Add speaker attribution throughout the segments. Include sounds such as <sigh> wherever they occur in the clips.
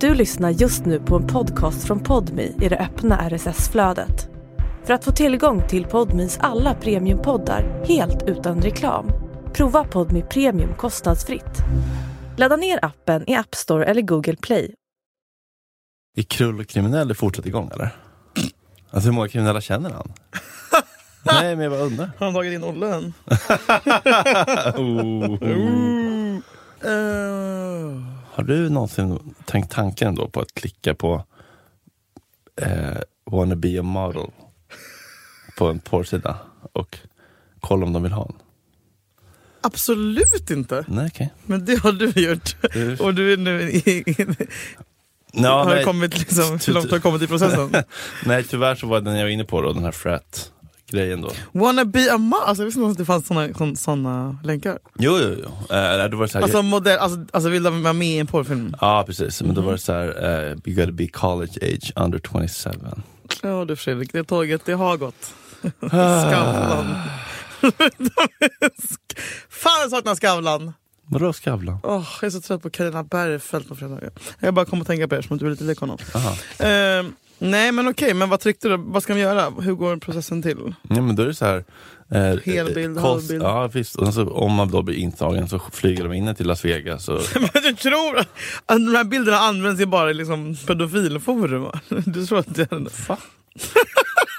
Speaker 1: Du lyssnar just nu på en podcast från Podmi i det öppna RSS-flödet. För att få tillgång till Podmis alla premiumpoddar helt utan reklam, prova Podmi Premium kostnadsfritt. Ladda ner appen i App Store eller Google Play.
Speaker 2: Är Krull och kriminell fortsatt igång eller? Alltså hur många kriminella känner <laughs> han? Nej men jag bara undrar.
Speaker 3: Har de tagit in Olle än?
Speaker 2: Oh.
Speaker 3: Eh,
Speaker 2: Har du någonsin tänkt tanken då på att klicka på eh, wanna be a model på en porrsida och kolla om de vill ha en?
Speaker 3: absolut inte.
Speaker 2: Nej okej.
Speaker 3: Men det har du gjort.
Speaker 2: Du-
Speaker 3: Och du är nu i, i,
Speaker 2: Ja,
Speaker 3: har
Speaker 2: nej, Typ,
Speaker 3: kommit liksom, hur långt har du kommit i processen?
Speaker 2: <laughs> nej tyvärr så var den jag var inne på då, den här frat grejen då.
Speaker 3: Wanna be a man? Alltså, jag visste inte ens att det fanns såna, sån- såna länkar.
Speaker 2: Jo jo jo. Eh, nej, det var så här,
Speaker 3: Alltså, modell, alltså, alltså vill de vara med i en porrfilm?
Speaker 2: Ja precis, men då var det så här, eh, you gotta be college age under 27.
Speaker 3: Ja du Fredrik, det tåget det har gått.
Speaker 2: Ah.
Speaker 3: Skavlan. Fan jag saknar Skavlan!
Speaker 2: Vadå Skavlan?
Speaker 3: Åh, jag är så trött på Carina Bergfeldt på fredagar. Jag bara kom att tänka på det eftersom att du är lite lik honom.
Speaker 2: Aha.
Speaker 3: Eh, nej men okej, men vad tryckte du? Vad ska de göra? Hur går processen till?
Speaker 2: Ja men då är det så här. Eh,
Speaker 3: Helbild,
Speaker 2: eh,
Speaker 3: halvbild.
Speaker 2: Ja visst, och så, om man då blir intagen så flyger de in en till Las Vegas.
Speaker 3: <laughs>
Speaker 2: Och,
Speaker 3: Men du tror att att de här bilderna används ju bara i liksom pedofilforum? <laughs> va? Du tror att det är... Fan.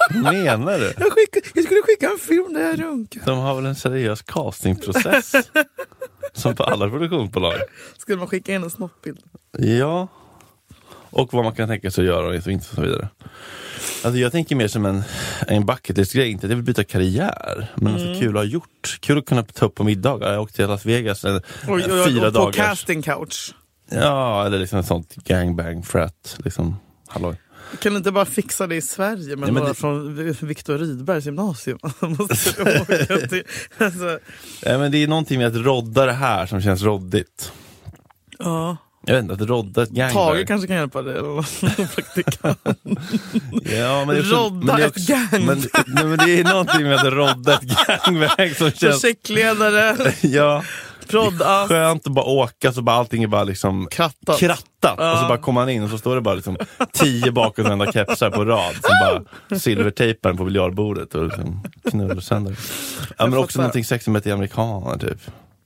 Speaker 2: menar du?
Speaker 3: Jag, skickar, jag skulle skicka en film där jag runkar.
Speaker 2: De har väl en seriös
Speaker 3: <laughs>
Speaker 2: castingprocess? som på alla produktionsbolag.
Speaker 3: Skulle man skicka in en snoppbild?
Speaker 2: Ja. Och vad man kan tänka sig att göra och inte och så vidare. Alltså jag tänker mer som en, en bucket list grej, inte att jag vill byta karriär. Men
Speaker 3: Mm.
Speaker 2: alltså kul att ha gjort. Kul att kunna ta upp på middagar. Jag åkte till Las Vegas en,
Speaker 3: Och,
Speaker 2: en
Speaker 3: och,
Speaker 2: fyra
Speaker 3: och, på
Speaker 2: dagar.
Speaker 3: casting couch.
Speaker 2: Ja, eller liksom ett sånt gangbang frat. Liksom, halloj.
Speaker 3: Kan du inte bara fixa det i Sverige med
Speaker 2: Ja, men
Speaker 3: några
Speaker 2: det-
Speaker 3: från Viktor Rydbergs gymnasium? <laughs> Måste du åka till- alltså,
Speaker 2: Nej, men det är någonting med att rodda det här som känns roddigt.
Speaker 3: ja.
Speaker 2: Jag vet inte, att rodda ett gangbang.
Speaker 3: Tage kanske kan hjälpa dig. eller någon <laughs> praktikant.
Speaker 2: Ja, men det är också-
Speaker 3: Rodda
Speaker 2: men det är
Speaker 3: ett
Speaker 2: också-
Speaker 3: gangbang.
Speaker 2: Men, nej, men det är någonting med att rodda ett gangbang
Speaker 3: <laughs>
Speaker 2: som känns... <laughs>
Speaker 3: Projektledare,
Speaker 2: Ja,
Speaker 3: prodda,
Speaker 2: skönt att bara åka så bara allting är bara liksom
Speaker 3: krattat.
Speaker 2: krattat. Och så
Speaker 3: Ja.
Speaker 2: bara kommer man in och så står det bara liksom tio bakåtvända kepsar på rad. Som bara silvertejpar på biljardbordet och liksom knullar sönder. Ja, men också
Speaker 3: fattar.
Speaker 2: någonting sexigt med att det är amerikaner typ.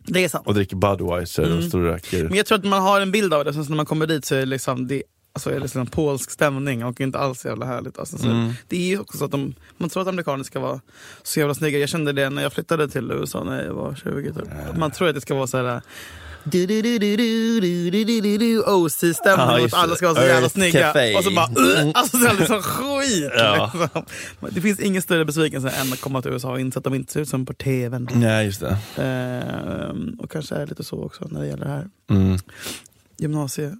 Speaker 3: det är sant.
Speaker 2: Och dricker Budweiser och står och röker.
Speaker 3: Mm. Men jag tror att man har en bild av det, sen så när man kommer dit så är det liksom, det, alltså, är det liksom polsk stämning och inte alls jävla härligt. Alltså, så
Speaker 2: Mm.
Speaker 3: Det är ju också så att de, man tror att amerikaner ska vara så jävla snygga. Jag kände det när jag flyttade till USA när jag var 20. Typ. Man tror att det ska vara så här... du-du-du-du-du-du-du-du-du-du,
Speaker 2: Ja,
Speaker 3: OC-stämning och
Speaker 2: just
Speaker 3: att alla ska vara så
Speaker 2: det.
Speaker 3: jävla
Speaker 2: Earth
Speaker 3: snygga.
Speaker 2: Cafe. Mm.
Speaker 3: Och så bara... "Ugh!" Alltså så här liksom skit!
Speaker 2: Ja.
Speaker 3: Liksom. Det finns ingen större besvikelse än att komma till USA och inse att de inte ser ut som på TVn.
Speaker 2: Nej, just det.
Speaker 3: Ehm, och kanske är lite så också när det gäller det här
Speaker 2: Mm.
Speaker 3: gymnasie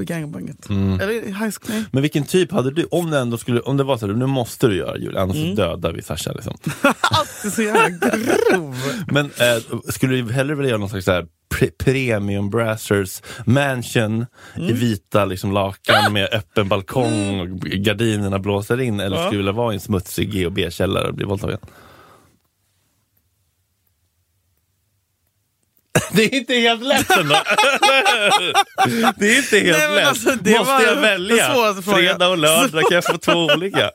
Speaker 3: gangbanget.
Speaker 2: Mm.
Speaker 3: Eller high school. nej. <laughs>
Speaker 2: Men vilken typ hade du, om det ändå skulle, om det var så här, nu måste du göra jul, annars
Speaker 3: Mm.
Speaker 2: dödar vi Sasha liksom.
Speaker 3: Alltid så jävla grov.
Speaker 2: Men eh, skulle du hellre vilja göra någon slags så här pre- premium brassers mansion i
Speaker 3: Mm.
Speaker 2: vita liksom,
Speaker 3: Ah!
Speaker 2: lakan med öppen balkong och gardinerna blåser in eller
Speaker 3: Ja.
Speaker 2: skulle du vilja vara i en smutsig GHB-källare och bli våldtagen? Det är inte helt <laughs> lätt ändå. Det är inte helt
Speaker 3: Nej, men
Speaker 2: lätt.
Speaker 3: alltså, det var
Speaker 2: Måste jag
Speaker 3: den
Speaker 2: välja?
Speaker 3: svåraste frågan.
Speaker 2: Fredag och lördag kan jag få
Speaker 3: <laughs>
Speaker 2: två olika.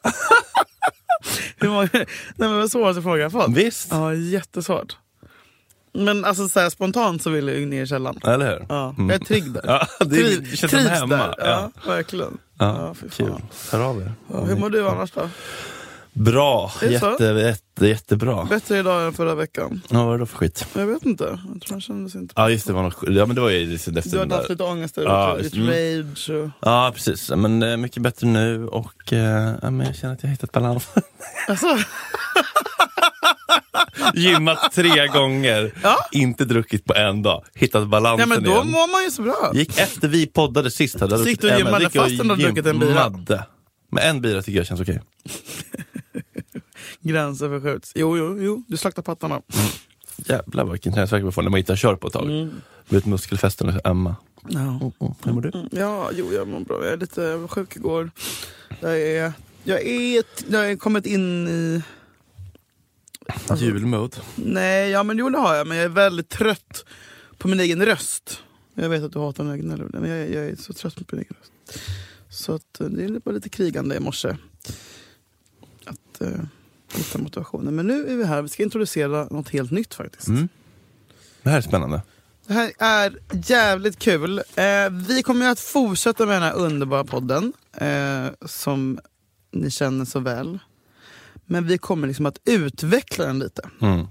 Speaker 3: Hur många, nej men vad svåraste fråga jag fått.
Speaker 2: Visst,
Speaker 3: Ja, jättesvårt. Men alltså så här, spontant så vill jag ju ner i källaren.
Speaker 2: eller hur? Mm.
Speaker 3: Ja, jag är trygg där.
Speaker 2: Ja, det
Speaker 3: Triv-
Speaker 2: känns som hemma.
Speaker 3: där. Ja, verkligen.
Speaker 2: Ja,
Speaker 3: Ja, fy fan.
Speaker 2: kul. Hör av er.
Speaker 3: Ja, hur mår du annars då?
Speaker 2: Bra,
Speaker 3: Är det så?
Speaker 2: jätte, jätte, jättebra.
Speaker 3: Bättre idag än förra veckan?
Speaker 2: Ja, vad var det då för skit?
Speaker 3: Jag vet inte. Jag tror jag kändes inte...
Speaker 2: Ja just det, var något, sk- ja, men det var ju liksom efter
Speaker 3: Du
Speaker 2: den
Speaker 3: hade haft
Speaker 2: där.
Speaker 3: lite ångest där
Speaker 2: Ja, mm.
Speaker 3: ute,
Speaker 2: just-
Speaker 3: lite rage och...
Speaker 2: Ja precis, men eh, mycket bättre nu och eh, ja, men jag känner att jag har hittat
Speaker 3: <laughs>
Speaker 2: balans.
Speaker 3: Alltså,
Speaker 2: Gymmat tre gånger,
Speaker 3: Ja.
Speaker 2: inte druckit på en dag, hittat
Speaker 3: ja,
Speaker 2: balansen
Speaker 3: men då
Speaker 2: igen.
Speaker 3: mår man ju så bra.
Speaker 2: Gick efter vi poddade sist. Hade jag
Speaker 3: Så
Speaker 2: druckit
Speaker 3: gick du och
Speaker 2: en, men
Speaker 3: gymmade
Speaker 2: gick jag och
Speaker 3: fast ändå druckit en bira?
Speaker 2: gymmade. Men en bira tycker jag känns okej.
Speaker 3: Gränser förskjuts. Jo, jo, jo. Du slaktar pattarna.
Speaker 2: Jävlar vilken träningsvärk man får när man inte har kört på ett tag.
Speaker 3: Mm.
Speaker 2: Vet muskelfästen är så ömma.
Speaker 3: Ja.
Speaker 2: Mm. Hur mår du?
Speaker 3: Ja, jo, jag mår bra. Jag är lite jag var sjuk igår. Jag är... Jag är... Jag har kommit in i...
Speaker 2: Julmode.
Speaker 3: Nej, ja men jo det har jag. Men jag är väldigt trött på min egen röst. Jag vet att du hatar när jag gnäller över det, men jag, jag är så trött på din röst. Så att, eh, det är bara lite krigande i morse. Att eh, hitta motivationen. Men nu är vi här, vi ska introducera något helt nytt faktiskt.
Speaker 2: Mm. Det här är spännande.
Speaker 3: Det här är jävligt kul. Eh, vi kommer ju att fortsätta med den här underbara podden eh, som ni känner så väl. Men vi kommer liksom att utveckla den lite.
Speaker 2: Mm.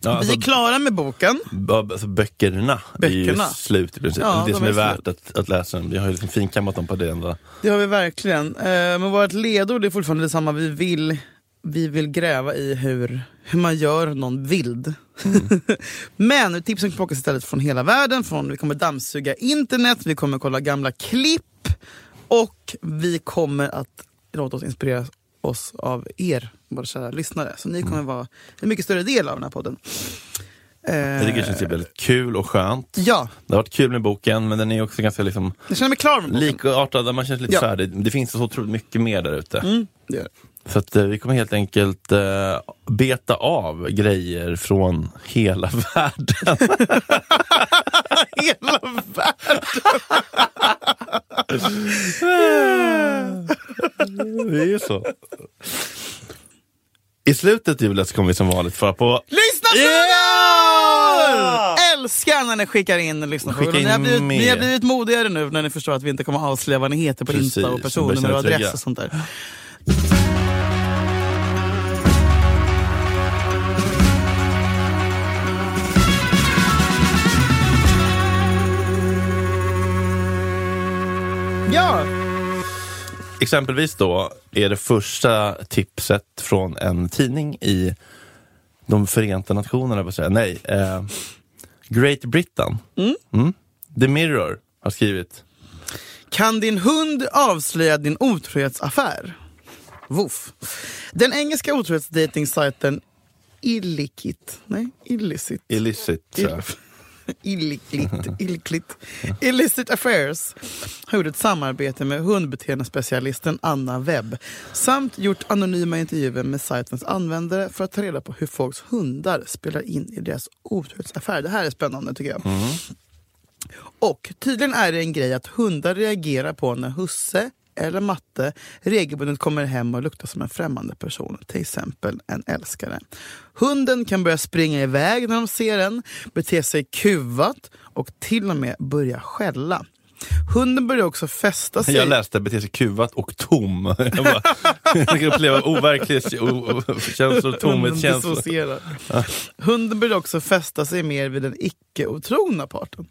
Speaker 2: Ja, alltså,
Speaker 3: vi är klara med boken.
Speaker 2: b- alltså, böckerna, är ju
Speaker 3: Böckerna.
Speaker 2: slut i princip.
Speaker 3: Ja,
Speaker 2: det
Speaker 3: de
Speaker 2: som
Speaker 3: är
Speaker 2: är, värt att, att läsa. Vi har ju liksom finkammat dem på det enda.
Speaker 3: Det har vi verkligen. Eh, men vårt ledord är fortfarande detsamma. Vi vill, vi vill gräva i hur, hur man gör någon vild. <laughs> men tipsen kan plockas istället från hela världen. Från, vi kommer dammsuga internet, vi kommer kolla gamla klipp och vi kommer att låta oss inspireras oss av er, våra kära lyssnare. Så ni
Speaker 2: Mm.
Speaker 3: kommer vara en mycket större del av den här podden. Eh,
Speaker 2: Jag tycker det känns ju väldigt kul och skönt.
Speaker 3: Ja,
Speaker 2: Det har varit kul med boken, men den är också ganska liksom,
Speaker 3: jag känner mig klar med boken.
Speaker 2: likartad. Man känns lite
Speaker 3: Ja.
Speaker 2: så här, det, det finns så otroligt mycket mer där ute.
Speaker 3: Mm, det gör det.
Speaker 2: Så att, eh, vi kommer helt enkelt eh, beta av grejer från hela <laughs> världen.
Speaker 3: Hela
Speaker 2: det är ju så. I slutet Julia så kommer vi som vanligt föra på
Speaker 3: Lyssnarfrågor!
Speaker 2: Ja!
Speaker 3: Älskar när ni skickar in lyssnarfrågor.
Speaker 2: Skicka in
Speaker 3: ni, har blivit,
Speaker 2: mer.
Speaker 3: ni har blivit modigare nu när ni förstår att vi inte kommer avslöja vad ni heter på
Speaker 2: Precis,
Speaker 3: Insta och
Speaker 2: ni börjar känna
Speaker 3: personnummer och
Speaker 2: er
Speaker 3: adress
Speaker 2: trygga.
Speaker 3: och sånt där. Ja!
Speaker 2: Exempelvis då är det första tipset från en tidning i de Förenta Nationerna, på säga. nej, eh, Great Britain. Mm. The Mirror har skrivit.
Speaker 3: Kan din hund avslöja din otrohetsaffär? Woof. Den engelska otrohetsdejtingsajten Illikit, nej, Illicit.
Speaker 2: Illicit. tror jag.
Speaker 3: Illiklit, illiklit. Illicit Affairs har gjort ett samarbete med hundbeteendespecialisten Anna Webb samt gjort anonyma intervjuer med sajtens användare för att ta reda på hur folks hundar spelar in i deras otrohetsaffär. Det här är spännande tycker jag. Och tydligen är det en grej att hundar reagerar på när husse eller matte regelbundet kommer hem och luktar som en främmande person, till exempel en älskare. Hunden kan börja springa iväg när de ser en, bete sig kuvat och till och med börja skälla. Hunden börjar också fästa
Speaker 2: <laughs>
Speaker 3: sig...
Speaker 2: Jag läste bete sig kuvat och tom. <laughs> Jag, bara, jag kan uppleva overklig o- o- känslor, tomhetskänslor.
Speaker 3: Dissocierar. Hunden börjar också fästa sig mer vid den icke-otrogna parten.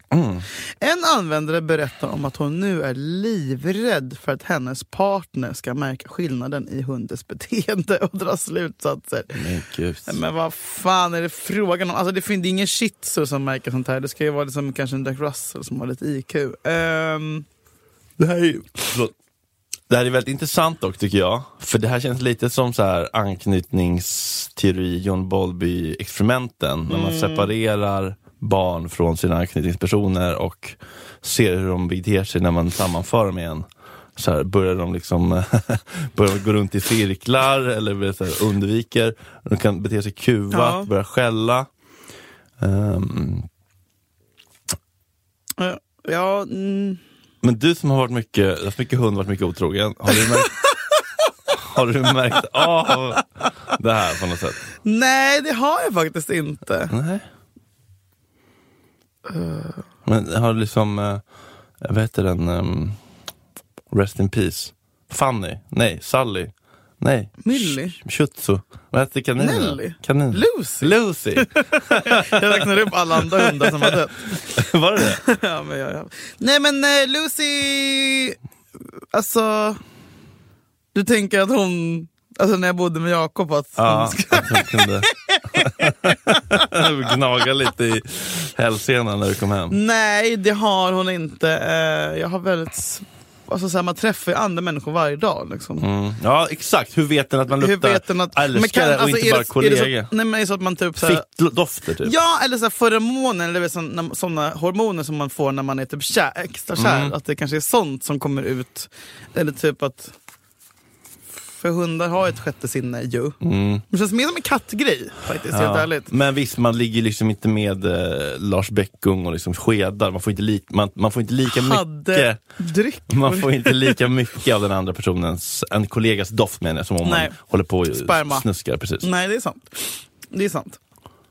Speaker 3: En användare berättar om att hon nu är livrädd för att hennes partner ska märka skillnaden i hundens beteende och dra slutsatser.
Speaker 2: Men gud.
Speaker 3: Men vad fan är det frågan om? Alltså det finns det är ingen shih tzu som märker sånt här. Det ska ju vara liksom kanske en Jack Russell som har lite IQ. Ehm,
Speaker 2: Det här är ju... Förlåt. Det här är väldigt intressant dock tycker jag. För det här känns lite som så här anknytningsteori, John Bowlby-experimenten. När man separerar barn från sina anknytningspersoner och ser hur de beter sig när man sammanför dem igen. Så här, börjar de liksom <laughs> börjar de gå runt i cirklar eller blir så här, undviker. De kan bete sig kuvat,
Speaker 3: Ja.
Speaker 2: börja skälla. Ehm,
Speaker 3: eh, ja, mm.
Speaker 2: Men du som har varit mycket, haft mycket hund varit mycket otrogen, har du märkt, har du märkt av det här på något sätt?
Speaker 3: nej det har jag faktiskt inte.
Speaker 2: Nej. Eh. Men har du liksom, eh, vad heter den, ehm, Rest in Peace? Fanny? Nej, Sally? Nej.
Speaker 3: Millie?
Speaker 2: Sh- Shutsu? Vad hette kaninen?
Speaker 3: Nelly?
Speaker 2: Kanin.
Speaker 3: Lucy?
Speaker 2: Lucy!
Speaker 3: Jag räknar upp alla andra hundar som har dött.
Speaker 2: Var det det?
Speaker 3: <laughs> ja, men jag, jag. Nej men eh, Lucy, alltså, du tänker att hon, alltså när jag bodde med Jakob att
Speaker 2: Ja,
Speaker 3: hon ska,
Speaker 2: att hon kunde <laughs> gnaga lite i hälsenan när du kom hem.
Speaker 3: nej det har hon inte. Eh, jag har väldigt, s- alltså så här, man träffar ju andra människor varje dag liksom.
Speaker 2: Mm. Ja, exakt. Hur vet den att man luktar älskare och inte
Speaker 3: alltså, är
Speaker 2: bara
Speaker 3: det, Är
Speaker 2: kollega?
Speaker 3: det så, nej men är det så att man typ så här,
Speaker 2: Fittdofter typ.
Speaker 3: Ja, eller så här feromoner, eller du vet, såna, såna hormoner som man får när man är typ kär,
Speaker 2: Mm.
Speaker 3: extra kär. Att det kanske är sånt som kommer ut. Eller typ att... för För hundar har ett sjätte sinne ju.
Speaker 2: Mm.
Speaker 3: Det känns mer som en kattgrej faktiskt, helt
Speaker 2: Ja.
Speaker 3: ärligt.
Speaker 2: Men visst, man ligger liksom inte med eh, Lars Beckung och liksom skedar. Man får inte, li- man, man får inte lika
Speaker 3: Hade
Speaker 2: mycket
Speaker 3: dryck.
Speaker 2: man får
Speaker 3: <laughs>
Speaker 2: inte lika mycket av den andra personens, en kollegas doft menar jag, som om
Speaker 3: Nej.
Speaker 2: man håller på och
Speaker 3: Sperma.
Speaker 2: snuskar. Precis.
Speaker 3: Nej, det är sant. Det är sant.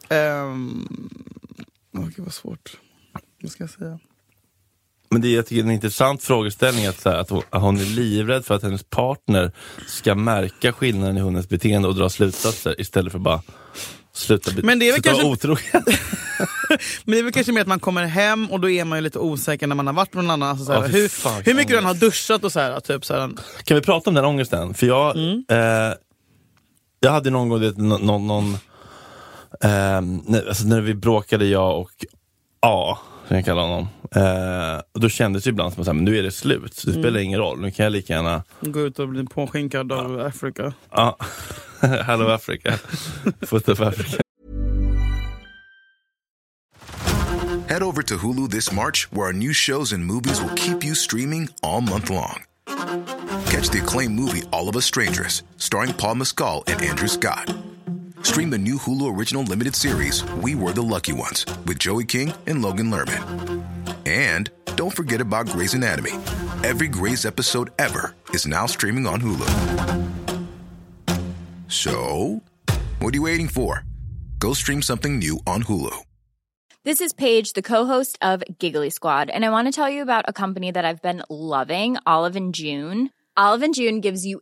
Speaker 3: Ehm... Åh, gud vad svårt. Vad ska jag säga?
Speaker 2: Men det är, jag tycker, en intressant frågeställning att, så här, att, hon, att hon är livrädd för att hennes partner ska märka skillnaden i hundens beteende och dra slutsatser istället för bara sluta, be-
Speaker 3: Men det är väl
Speaker 2: sluta vara
Speaker 3: kanske-
Speaker 2: otrogen. <laughs>
Speaker 3: Men det är väl kanske mer att man kommer hem och då är man ju lite osäker när man har varit med någon annan. Alltså, så här,
Speaker 2: Ja, fy
Speaker 3: hur,
Speaker 2: fan,
Speaker 3: hur mycket du än har
Speaker 2: ångest.
Speaker 3: duschat och så här, typ så här,
Speaker 2: Kan vi prata om den ångesten? För jag,
Speaker 3: Mm.
Speaker 2: eh, jag hade någon gång, du vet, nå- någon, någon ehm, när, alltså när vi bråkade jag och A, som jag kallar honom. Eh, och då kändes det ibland som att så här, men nu är det slut,
Speaker 3: Mm.
Speaker 2: det spelar ingen roll, nu kan jag lika gärna
Speaker 3: gå ut och bli påskinkad av Afrika.
Speaker 2: Ja. <laughs> Hello Africa. Foot of Africa.
Speaker 4: Head over to Hulu this March, where our new shows and movies will keep you streaming all month long. Catch the acclaimed movie All of Us Strangers, starring Paul Mescal and Andrew Scott. Stream the new Hulu original limited series We Were the Lucky Ones with Joey King and Logan Lerman. And don't forget about Grey's Anatomy. Every Grey's episode ever is now streaming on Hulu. So, what are you waiting for? Go stream something new on Hulu.
Speaker 5: This is Paige, the co-host of Giggly Squad, and I want to tell you about a company that I've been loving, Olive and June. Olive and June gives you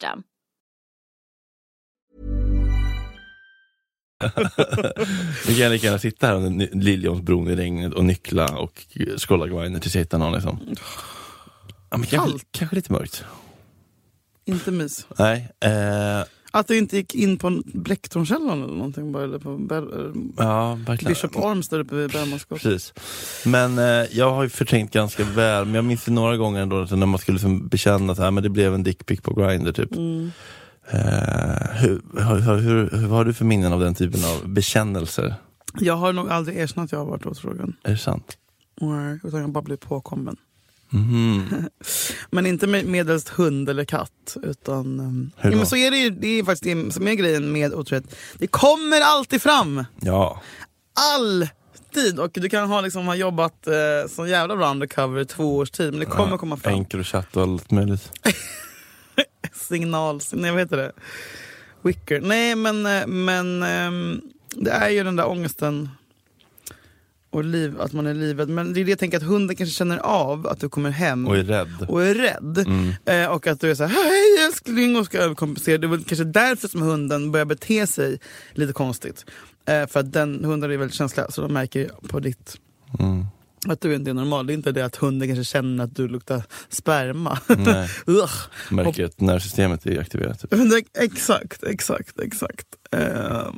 Speaker 2: Vi kan lika gärna sitta här under Ny- Liljonsbron i regnet och nyckla och skrolla grinder tills jag hittar någon. Liksom. Ja, men kanske,
Speaker 3: Kallt.
Speaker 2: kanske lite mörkt.
Speaker 3: Inte mys.
Speaker 2: Nej. Eh,
Speaker 3: Att du inte gick in på Blecktornskällan eller någonting bara, eller på Ber-
Speaker 2: ja, verkligen.
Speaker 3: Bishop Arms där uppe vid Bergmansgatan.
Speaker 2: Precis. Men eh, jag har ju förträngt ganska väl, men jag minns det några gånger ändå alltså, när man skulle liksom bekänna att äh, men det blev en dickpic på Grindr typ.
Speaker 3: Mm.
Speaker 2: Eh, hur, hur, hur, hur, vad har du för minnen av den typen av bekännelser?
Speaker 3: Jag har nog aldrig erkänt att jag har varit otrogen.
Speaker 2: Är det sant?
Speaker 3: Nej, Utan jag har bara blivit påkommen.
Speaker 2: Mhm.
Speaker 3: Men inte med- medelst hund eller katt. Utan, ehm,
Speaker 2: Hur
Speaker 3: ja, men
Speaker 2: då?
Speaker 3: så är det ju, det är faktiskt det som är grejen med otrohet. Det kommer alltid fram.
Speaker 2: Ja.
Speaker 3: Alltid. Och du kan ha, liksom, ha jobbat eh, som jävla bra undercover i två års tid. Men det <laughs> kommer komma fram.
Speaker 2: Encrochat och allt möjligt.
Speaker 3: signal, nej vad heter det? Wicker. Nej men, eh, men ehm, det är ju den där ångesten och liv, att man är livet. Men det är det jag tänker att hunden kanske känner av att du kommer hem
Speaker 2: Och är rädd.
Speaker 3: Mm. och är rädd.
Speaker 2: Mm.
Speaker 3: Eh, och att du är så här, hej älskling och ska överkompensera. Det är väl kanske därför som hunden börjar bete sig lite konstigt. Eh, för att den hunden är väldigt känsliga så de märker ju på ditt
Speaker 2: Mm.
Speaker 3: att du inte är normal. Det är inte det att hunden kanske känner att du luktar sperma. <laughs>
Speaker 2: Nej,
Speaker 3: Ugh.
Speaker 2: märker att nervsystemet är aktiverat. Typ.
Speaker 3: Men det, exakt, exakt, exakt. Uh,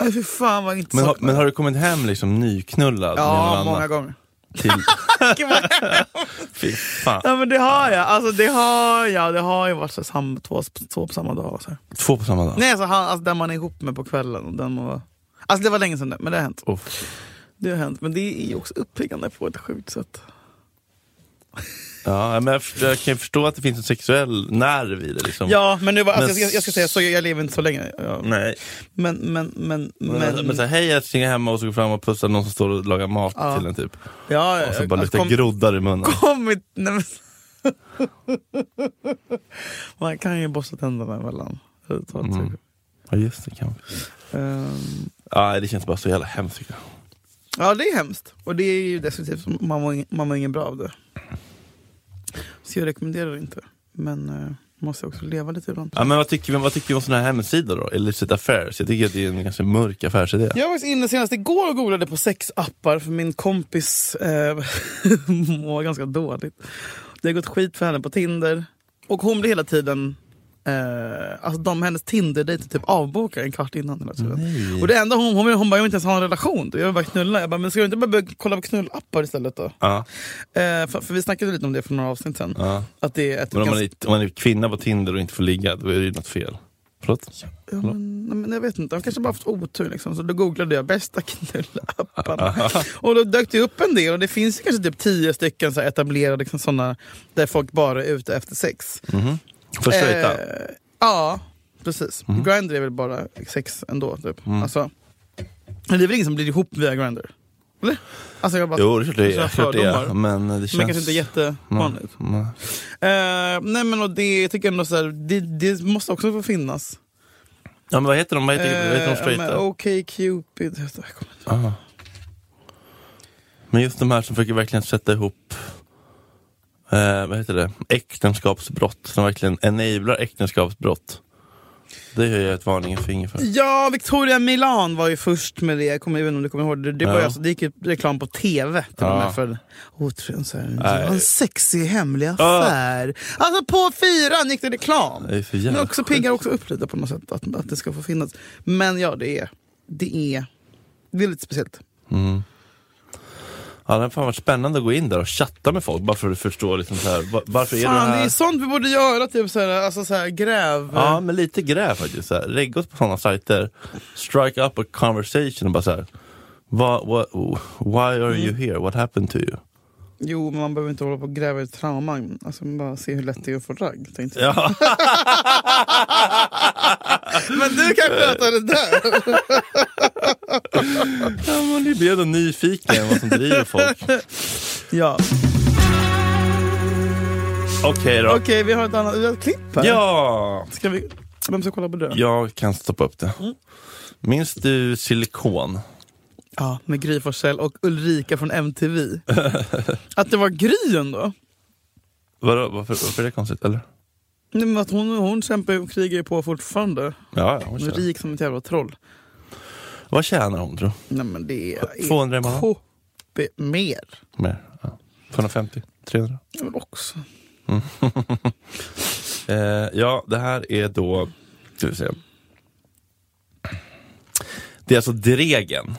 Speaker 3: nej, fy fan vad jag inte
Speaker 2: Men, har,
Speaker 3: saknar
Speaker 2: men har du kommit hem liksom nyknullad? med någon
Speaker 3: Ja,
Speaker 2: annan?
Speaker 3: många gånger.
Speaker 2: Till... Fy fan.
Speaker 3: <laughs> ja, men det har jag. Alltså, det har jag. Det har ju varit så sam, två, två på samma dag. och Så här.
Speaker 2: Två på samma dag?
Speaker 3: Nej, alltså, han, alltså den man är ihop med på kvällen. och Den man var... Alltså det var länge sedan det, men det har hänt.
Speaker 2: Uff.
Speaker 3: Det har hänt. Men det är ju också uppiggande på ett sjukt sätt.
Speaker 2: Ja, men jag, jag kan ju förstå att det finns en sexuell nerv i det. Liksom.
Speaker 3: Ja, men nu var, alltså,
Speaker 2: Men-
Speaker 3: jag, ska, jag ska säga så, jag, jag lever inte så länge. Ja.
Speaker 2: Nej.
Speaker 3: Men, men, men, men.
Speaker 2: Men, men, så här, hej älskling, jag är hemma och så går fram och pussar någon som står och lagar mat
Speaker 3: Ja.
Speaker 2: till en typ.
Speaker 3: ja, ja,
Speaker 2: Och så bara
Speaker 3: alltså,
Speaker 2: luktar
Speaker 3: kom-
Speaker 2: groddar i munnen.
Speaker 3: kommit... Nej, men... <laughs> Man kan ju borsta tänderna emellan. Mm.
Speaker 2: Mm. Ja just det, kan man. Ja, det känns bara så jävla hemskt tycker jag.
Speaker 3: Ehm, ja, det är hemskt. Och det är ju definitivt, man mår ing- man mår ingen bra av det. Så jag rekommenderar det inte. Men eh, Måste också leva lite ibland.
Speaker 2: Ja, men vad tycker vi vad tycker vi om såna här hemsidor då? Illicit Affairs? Jag tycker att det är en ganska mörk affärsidé.
Speaker 3: Jag var faktiskt inne senast igår och googlade på sexappar för min kompis eh, <laughs> mår ganska dåligt. Det har gått skit för henne på Tinder. Och hon blir hela tiden... Eh, alltså de, hennes Tinder-dejter typ avbokar en kvart innan. Hela tiden. Och det enda hon, hon, vill- hon bara, jag vill inte ens ha en relation. Jag vill bara knulla. Jag bara, men ska du inte bara börja kolla på knullappar istället då?
Speaker 2: Ja.
Speaker 3: Eh, för, för vi snackade lite om det för några avsnitt sen.
Speaker 2: Ja.
Speaker 3: Att det är ett
Speaker 2: Men om man,
Speaker 3: ganska-
Speaker 2: är, om man är kvinna på Tinder och inte får ligga, då är det ju något fel. Förlåt?
Speaker 3: Ja, men, nej, men jag vet inte, han kanske bara haft otur. Liksom. Så då googlade jag
Speaker 2: <laughs>
Speaker 3: bästa knullapparna. och då dök det upp en del och det finns ju kanske typ tio stycken så här etablerade liksom, sådana där folk bara är ute efter sex.
Speaker 2: För Mhm. straighta? Mm.
Speaker 3: Eh, ja, precis. Grindr är väl bara sex ändå. Typ. Alltså, men det är väl ingen som blir ihop via Grindr? Eller? Alltså, jag bara,
Speaker 2: jo, det är klart det
Speaker 3: sådana
Speaker 2: är. Klart det
Speaker 3: fördomar.
Speaker 2: är. Men eh, det känns... Mm,
Speaker 3: Men kanske inte jättevanligt.
Speaker 2: Nej.
Speaker 3: Eh, nej men och det, jag tycker ändå så här, det, det måste också få finnas.
Speaker 2: Ja, men vad heter de? Vad heter, vad heter de
Speaker 3: Eh, men
Speaker 2: straighta?
Speaker 3: Okej Cupid. Jag kommer inte
Speaker 2: Aha. Men just de här som försöker verkligen sätta ihop eh, vad heter det? äktenskapsbrott, som verkligen enablar äktenskapsbrott. Det höjer jag ett varningens finger för.
Speaker 3: Ja, Victoria Milan var ju först med det. Jag kommer jag vet inte om du kommer ihåg det. Det, var ju
Speaker 2: Ja.
Speaker 3: alltså, det gick ju reklam på tv till och
Speaker 2: Ja.
Speaker 3: med för otroligt. så här,
Speaker 2: Nej.
Speaker 3: En sexig hemlig affär. Alltså på fyran gick det reklam.
Speaker 2: Det är så
Speaker 3: Men
Speaker 2: jävla
Speaker 3: också piggar också upp lite på något sätt att, att det ska få finnas. Men ja, det är, det är, det är lite speciellt.
Speaker 2: Mm. Ja, det har fan varit spännande att gå in där och chatta med folk bara för att förstå liksom så här, va- varför är
Speaker 3: Fan,
Speaker 2: du
Speaker 3: det
Speaker 2: här?
Speaker 3: är sånt vi borde göra. Typ så här, alltså så här, gräv.
Speaker 2: Ja, men lite gräv faktiskt. Så här. Lägg oss på sådana sajter, strike up a conversation och bara så här. Va, what, why are
Speaker 3: Mm.
Speaker 2: you here? What happened to you?
Speaker 3: Jo, men man behöver inte hålla på och gräva i trauman. Alltså, man bara se hur lätt det är att få ragg. Tänkte jag.
Speaker 2: <laughs> Ja.
Speaker 3: Men du kan
Speaker 2: Eh,
Speaker 3: sköta det där.
Speaker 2: Ja, man blir ändå nyfiken vad som driver
Speaker 3: <laughs>
Speaker 2: folk.
Speaker 3: ja.
Speaker 2: Okej då.
Speaker 3: Okej, vi har ett annat vi har ett klipp här.
Speaker 2: Ja,
Speaker 3: Ska vi, vem ska kolla på det?
Speaker 2: jag kan stoppa upp det.
Speaker 3: Mm.
Speaker 2: Minns du silikon?
Speaker 3: Ja, med Gry Forssell och Ulrika
Speaker 2: <laughs>
Speaker 3: från MTV. att det var Gry ändå.
Speaker 2: Vadå, varför, varför är det konstigt? Eller?
Speaker 3: Nej, men att hon, hon kämpar och krigar ju på fortfarande.
Speaker 2: Ja, ja, hon
Speaker 3: Hon är
Speaker 2: tjänar.
Speaker 3: rik som ett jävla troll.
Speaker 2: Vad tjänar hon tror
Speaker 3: Nej men det är
Speaker 2: 200 i månaden?
Speaker 3: KP mer.
Speaker 2: du? Mer? Ja. 250? 300?
Speaker 3: Jag vill också.
Speaker 2: Eh, ja, det här är då... Ska vi se. Det är alltså Dregen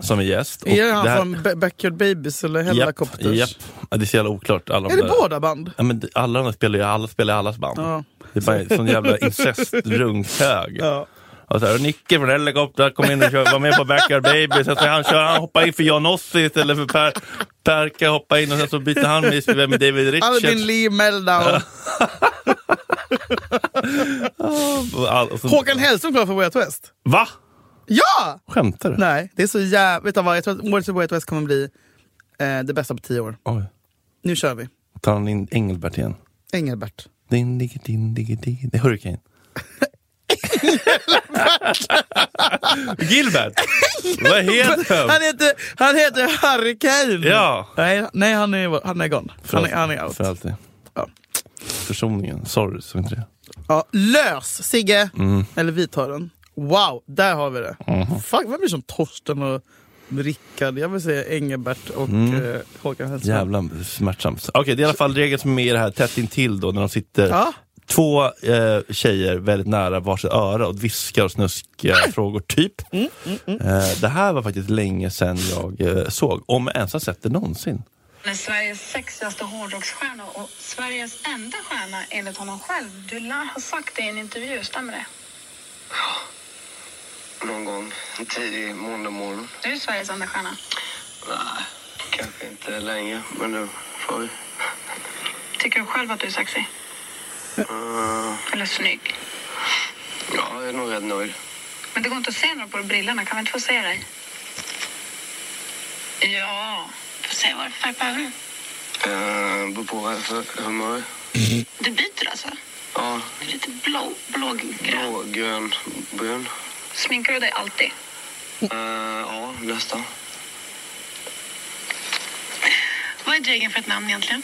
Speaker 2: som är gäst. och
Speaker 3: Mm. är han
Speaker 2: det här-
Speaker 3: från Ba- Backyard Babies eller Hellacopters?
Speaker 2: Japp, japp. Ja, det är så jävla oklart. Alla de
Speaker 3: Är det
Speaker 2: där-
Speaker 3: båda band?
Speaker 2: Ja, men det- alla de där spelar ju alla spelar i allas band.
Speaker 3: Ja.
Speaker 2: Det är bara en sån jävla incestrunkhög.
Speaker 3: Ja.
Speaker 2: Och så här, Nicke från Helikopter kom in och kör, var med på Backyard Baby. Sen så han, kör, han hoppar in för John Ossie istället för per, Perka hoppar in och sen så byter han med, med David
Speaker 3: Albin
Speaker 2: Richards.
Speaker 3: Lee Meldau.
Speaker 2: Och all- och så-
Speaker 3: Håkan Hellström klar för Way Out West.
Speaker 2: Va?
Speaker 3: Ja!
Speaker 2: Skämtar du?
Speaker 3: Nej, det är så jävla... Vet du vad, jag tror att årets Way Out West kommer bli eh, det bästa på tio år.
Speaker 2: Oj.
Speaker 3: Nu kör vi.
Speaker 2: Tar han in Engelbert igen?
Speaker 3: Engelbert.
Speaker 2: Din, digge, din, digge, digge. Det är Hurricane. Gilbert! Vad <laughs> heter
Speaker 3: Han
Speaker 2: han?
Speaker 3: heter, han heter Harry Kane!
Speaker 2: Ja.
Speaker 3: Nej, nej han, är, han är gone. Han är, han är out.
Speaker 2: För alltid.
Speaker 3: Ja.
Speaker 2: Försoningen. Sorry, så inte det.
Speaker 3: Ja, lös Sigge!
Speaker 2: Mm.
Speaker 3: Eller vi tar den. Wow, där har vi det.
Speaker 2: Mhm.
Speaker 3: Fuck, vem är det som Torsten och Rickard? Jag vill säga Engelbert och
Speaker 2: Mm.
Speaker 3: eh, Håkan Hellström.
Speaker 2: Jävla smärtsamt. Okej, det är i alla fall regeln som är med i det här tätt intill då när de sitter
Speaker 3: Ja.
Speaker 2: två eh, tjejer väldigt nära varsitt öra och viskar och
Speaker 3: <laughs>
Speaker 2: snuskiga frågor, typ.
Speaker 3: Mm,
Speaker 2: Eh, det här var faktiskt länge sedan jag eh, såg, om jag ens har sett det någonsin.
Speaker 6: Han är Sveriges sexigaste hårdrocksstjärna och Sveriges enda stjärna enligt honom själv. Du lär ha sagt det i en intervju, stämmer det?
Speaker 7: Någon gång en tidig måndag morgon.
Speaker 6: Du är Sveriges enda stjärna.
Speaker 7: Nej, kanske inte länge, men nu får vi.
Speaker 6: Tycker du själv att du är sexig?
Speaker 7: Eh,
Speaker 6: Eller snygg?
Speaker 7: ja, jag är nog rätt nöjd.
Speaker 6: Men det går inte att se något på brillorna. Kan vi inte få se dig? Ja, få se vad det är för färg på ögonen.
Speaker 7: Uh, beror på vad jag är för humör.
Speaker 6: Du byter alltså?
Speaker 7: Ja,
Speaker 6: Du är lite blå, blågrön.
Speaker 7: blå, grön, brun.
Speaker 6: Sminkar du dig alltid?
Speaker 7: Eh, ja, nästan.
Speaker 6: Vad är Dregen för ett namn egentligen?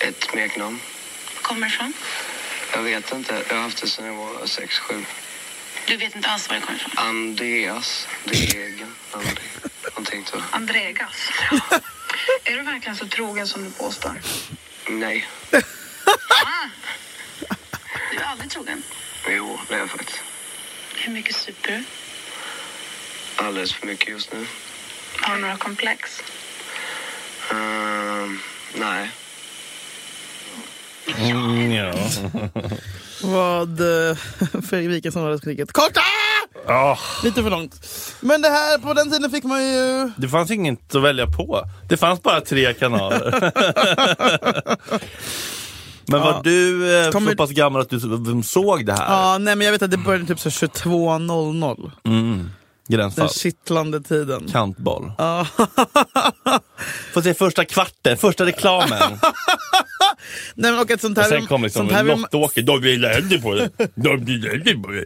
Speaker 7: Ett smeknamn.
Speaker 6: Var Kommer det ifrån?
Speaker 7: Jag vet inte. Jag har haft det sedan jag var sex, sju.
Speaker 6: Du vet inte alls var det kommer ifrån?
Speaker 7: Andreas. Degen. André. Någonting så.
Speaker 6: Andregas. är du verkligen så trogen som du påstår?
Speaker 7: Nej.
Speaker 6: Ah! Du är aldrig trogen.
Speaker 7: Jo, det är jag faktiskt.
Speaker 6: Hur mycket super du?
Speaker 7: Alldeles för mycket just nu.
Speaker 6: Har du några komplex?
Speaker 7: Ehm, nej.
Speaker 2: Mm, ja.
Speaker 3: Vad eh, <laughs> Fredrik Wikingsson hade skrikit. Korta!
Speaker 2: Ah,
Speaker 3: Lite för långt. Men det här, på den tiden fick man ju...
Speaker 2: det fanns inget att välja på. Det fanns bara tre
Speaker 3: <laughs>
Speaker 2: kanaler. Men var du eh,
Speaker 3: Kommer-
Speaker 2: så pass gammal att du s- såg det här?
Speaker 3: Ja, nej men jag vet att det började typ så 22.00.
Speaker 2: Mm.
Speaker 3: Den
Speaker 2: Gränsfall.
Speaker 3: kittlande tiden.
Speaker 2: Kantboll.
Speaker 3: Ja.
Speaker 2: <laughs> Får se första kvarten, första
Speaker 3: <laughs>
Speaker 2: reklamen.
Speaker 3: nej men och ett sånt här...
Speaker 2: Och sen kom liksom
Speaker 3: sånt här vill man,
Speaker 2: Lottåker. De vill elda på det. De vill elda på det.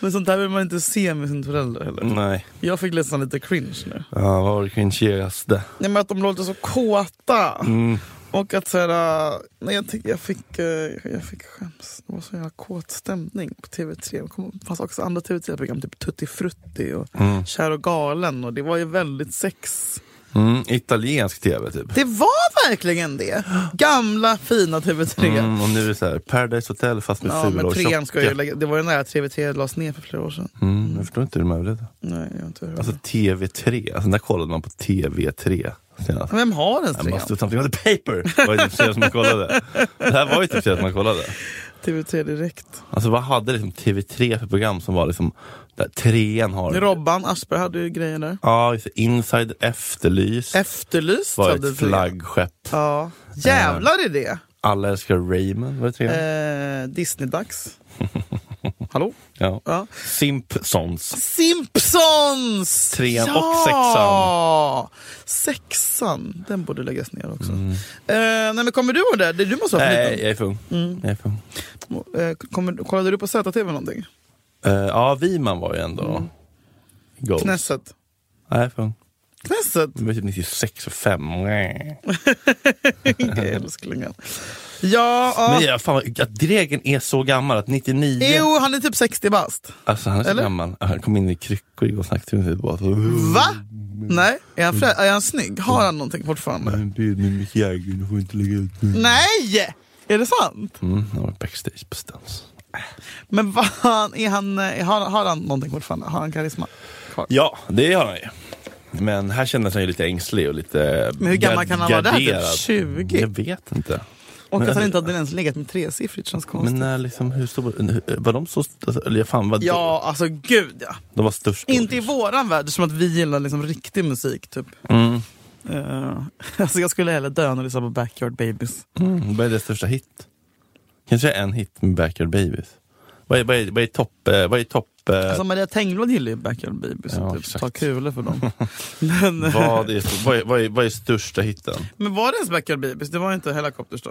Speaker 3: men sånt här vill man inte se med sina föräldrar heller.
Speaker 2: Nej.
Speaker 3: Jag fick nästan lite cringe nu.
Speaker 2: Ja, vad var det cringigaste?
Speaker 3: Nej men att de låter så kåta.
Speaker 2: Mm.
Speaker 3: Och att så här, äh, nej, jag, tyck, jag, fick, eh, jag fick skäms. Det var så jävla kåt stämning på TV3. Det kom- Det fanns också andra TV3-program, typ Tutti Frutti och Kär och galen. Och det var ju väldigt sex...
Speaker 2: Mm, italiensk tv typ.
Speaker 3: Det var verkligen det. Gamla fina TV3.
Speaker 2: Mm, och nu är det så här, Paradise Hotel fast med
Speaker 3: Ja,
Speaker 2: fula
Speaker 3: men
Speaker 2: och tjocka.
Speaker 3: trean ska jag ju lägga. Det var ju nära att TV3 lades ner för flera år sedan.
Speaker 2: Mm, jag förstår inte hur de överlevde.
Speaker 3: Nej, jag har inte hört.
Speaker 2: Alltså TV3, alltså, när kollade man på TV3 senast?
Speaker 3: Vem har ens
Speaker 2: I
Speaker 3: trean?
Speaker 2: must do something on the paper! var ju typ senast man kollade. Det här var ju typ senast man kollade.
Speaker 3: TV3 direkt.
Speaker 2: Alltså vad hade liksom TV3 för program som var liksom, där trean har...
Speaker 3: Robban Aschberg hade ju grejer där.
Speaker 2: Ja, just det. Inside Efterlys
Speaker 3: Efterlyst
Speaker 2: var
Speaker 3: hade
Speaker 2: ett Eh.
Speaker 3: trean.
Speaker 2: flaggskepp.
Speaker 3: Ja. Jävlar i det.
Speaker 2: Alla älskar Raymond, var det trean?
Speaker 3: Eh,
Speaker 2: <laughs>
Speaker 3: Disney-dags. Hallå?
Speaker 2: Ja.
Speaker 3: Ja.
Speaker 2: Simpsons.
Speaker 3: Simpsons!
Speaker 2: Trean
Speaker 3: ja!
Speaker 2: och
Speaker 3: sexan. Sexan, den borde läggas ner också. Eh, nej, men kommer du ihåg det? Det- Du måste vara för
Speaker 2: Mm. Nej,
Speaker 3: liten.
Speaker 2: jag är för ung.
Speaker 3: Mm.
Speaker 2: Jag är för ung.
Speaker 3: Eh, kommer, kollade du på ZTV någonting?
Speaker 2: Eh, ja, Wiman var ju ändå...
Speaker 3: Mm.
Speaker 2: Goals.
Speaker 3: Knesset?
Speaker 2: Nej, för ung.
Speaker 3: <laughs> Knesset?
Speaker 2: Det var typ 96 och 5. Men
Speaker 3: Älsklingen. Ja, ja.
Speaker 2: ja, fan, vad- att Dregen är så gammal att 99...
Speaker 3: Jo, han är typ 60 bast.
Speaker 2: Alltså han är så
Speaker 3: Eller?
Speaker 2: gammal. Han kom in i kryckor igår och snackade med bara så...
Speaker 3: Va? Nej, är han, frä- är han snygg? Har han någonting fortfarande?
Speaker 2: En bild med Mick Jagger, du får inte lägga ut mig.
Speaker 3: Nej! Är det sant?
Speaker 2: Mm, han var backstage på Stens.
Speaker 3: Men vad fan, är han, eh, har, har han någonting fortfarande? Har han karisma?
Speaker 2: Ja, det har han ju. Men här kändes han ju lite ängslig och lite
Speaker 3: Men hur gammal
Speaker 2: gar-
Speaker 3: kan han vara där? Typ
Speaker 2: garderad.
Speaker 3: 20?
Speaker 2: Jag vet inte.
Speaker 3: Och
Speaker 2: Men-
Speaker 3: att han inte hade ens legat med tresiffrigt känns konstigt.
Speaker 2: Men när liksom, hur stor, var de så, alltså, eller fan vad
Speaker 3: ja, alltså gud ja.
Speaker 2: de var störst då,
Speaker 3: Inte i
Speaker 2: kanske.
Speaker 3: våran värld, som att vi gillar liksom riktig musik typ.
Speaker 2: Mm.
Speaker 3: Eh, <laughs> alltså jag skulle hellre dö än att lyssna på Backyard Babies.
Speaker 2: Mm, vad är deras största hit? Kanske en hit med Backyard Babies. Vad är, vad är, vad är topp... eh, Vad är topp... eh,
Speaker 3: Alltså Maria Tengblad gillar ju Backyard Babies
Speaker 2: Ja,
Speaker 3: och typ
Speaker 2: exakt.
Speaker 3: tar kulor
Speaker 2: <laughs>
Speaker 3: för dem. men,
Speaker 2: vad, är, vad, är, vad, är, vad är största hitten?
Speaker 3: men var det ens Backyard Babies? Det var inte Helicopters då?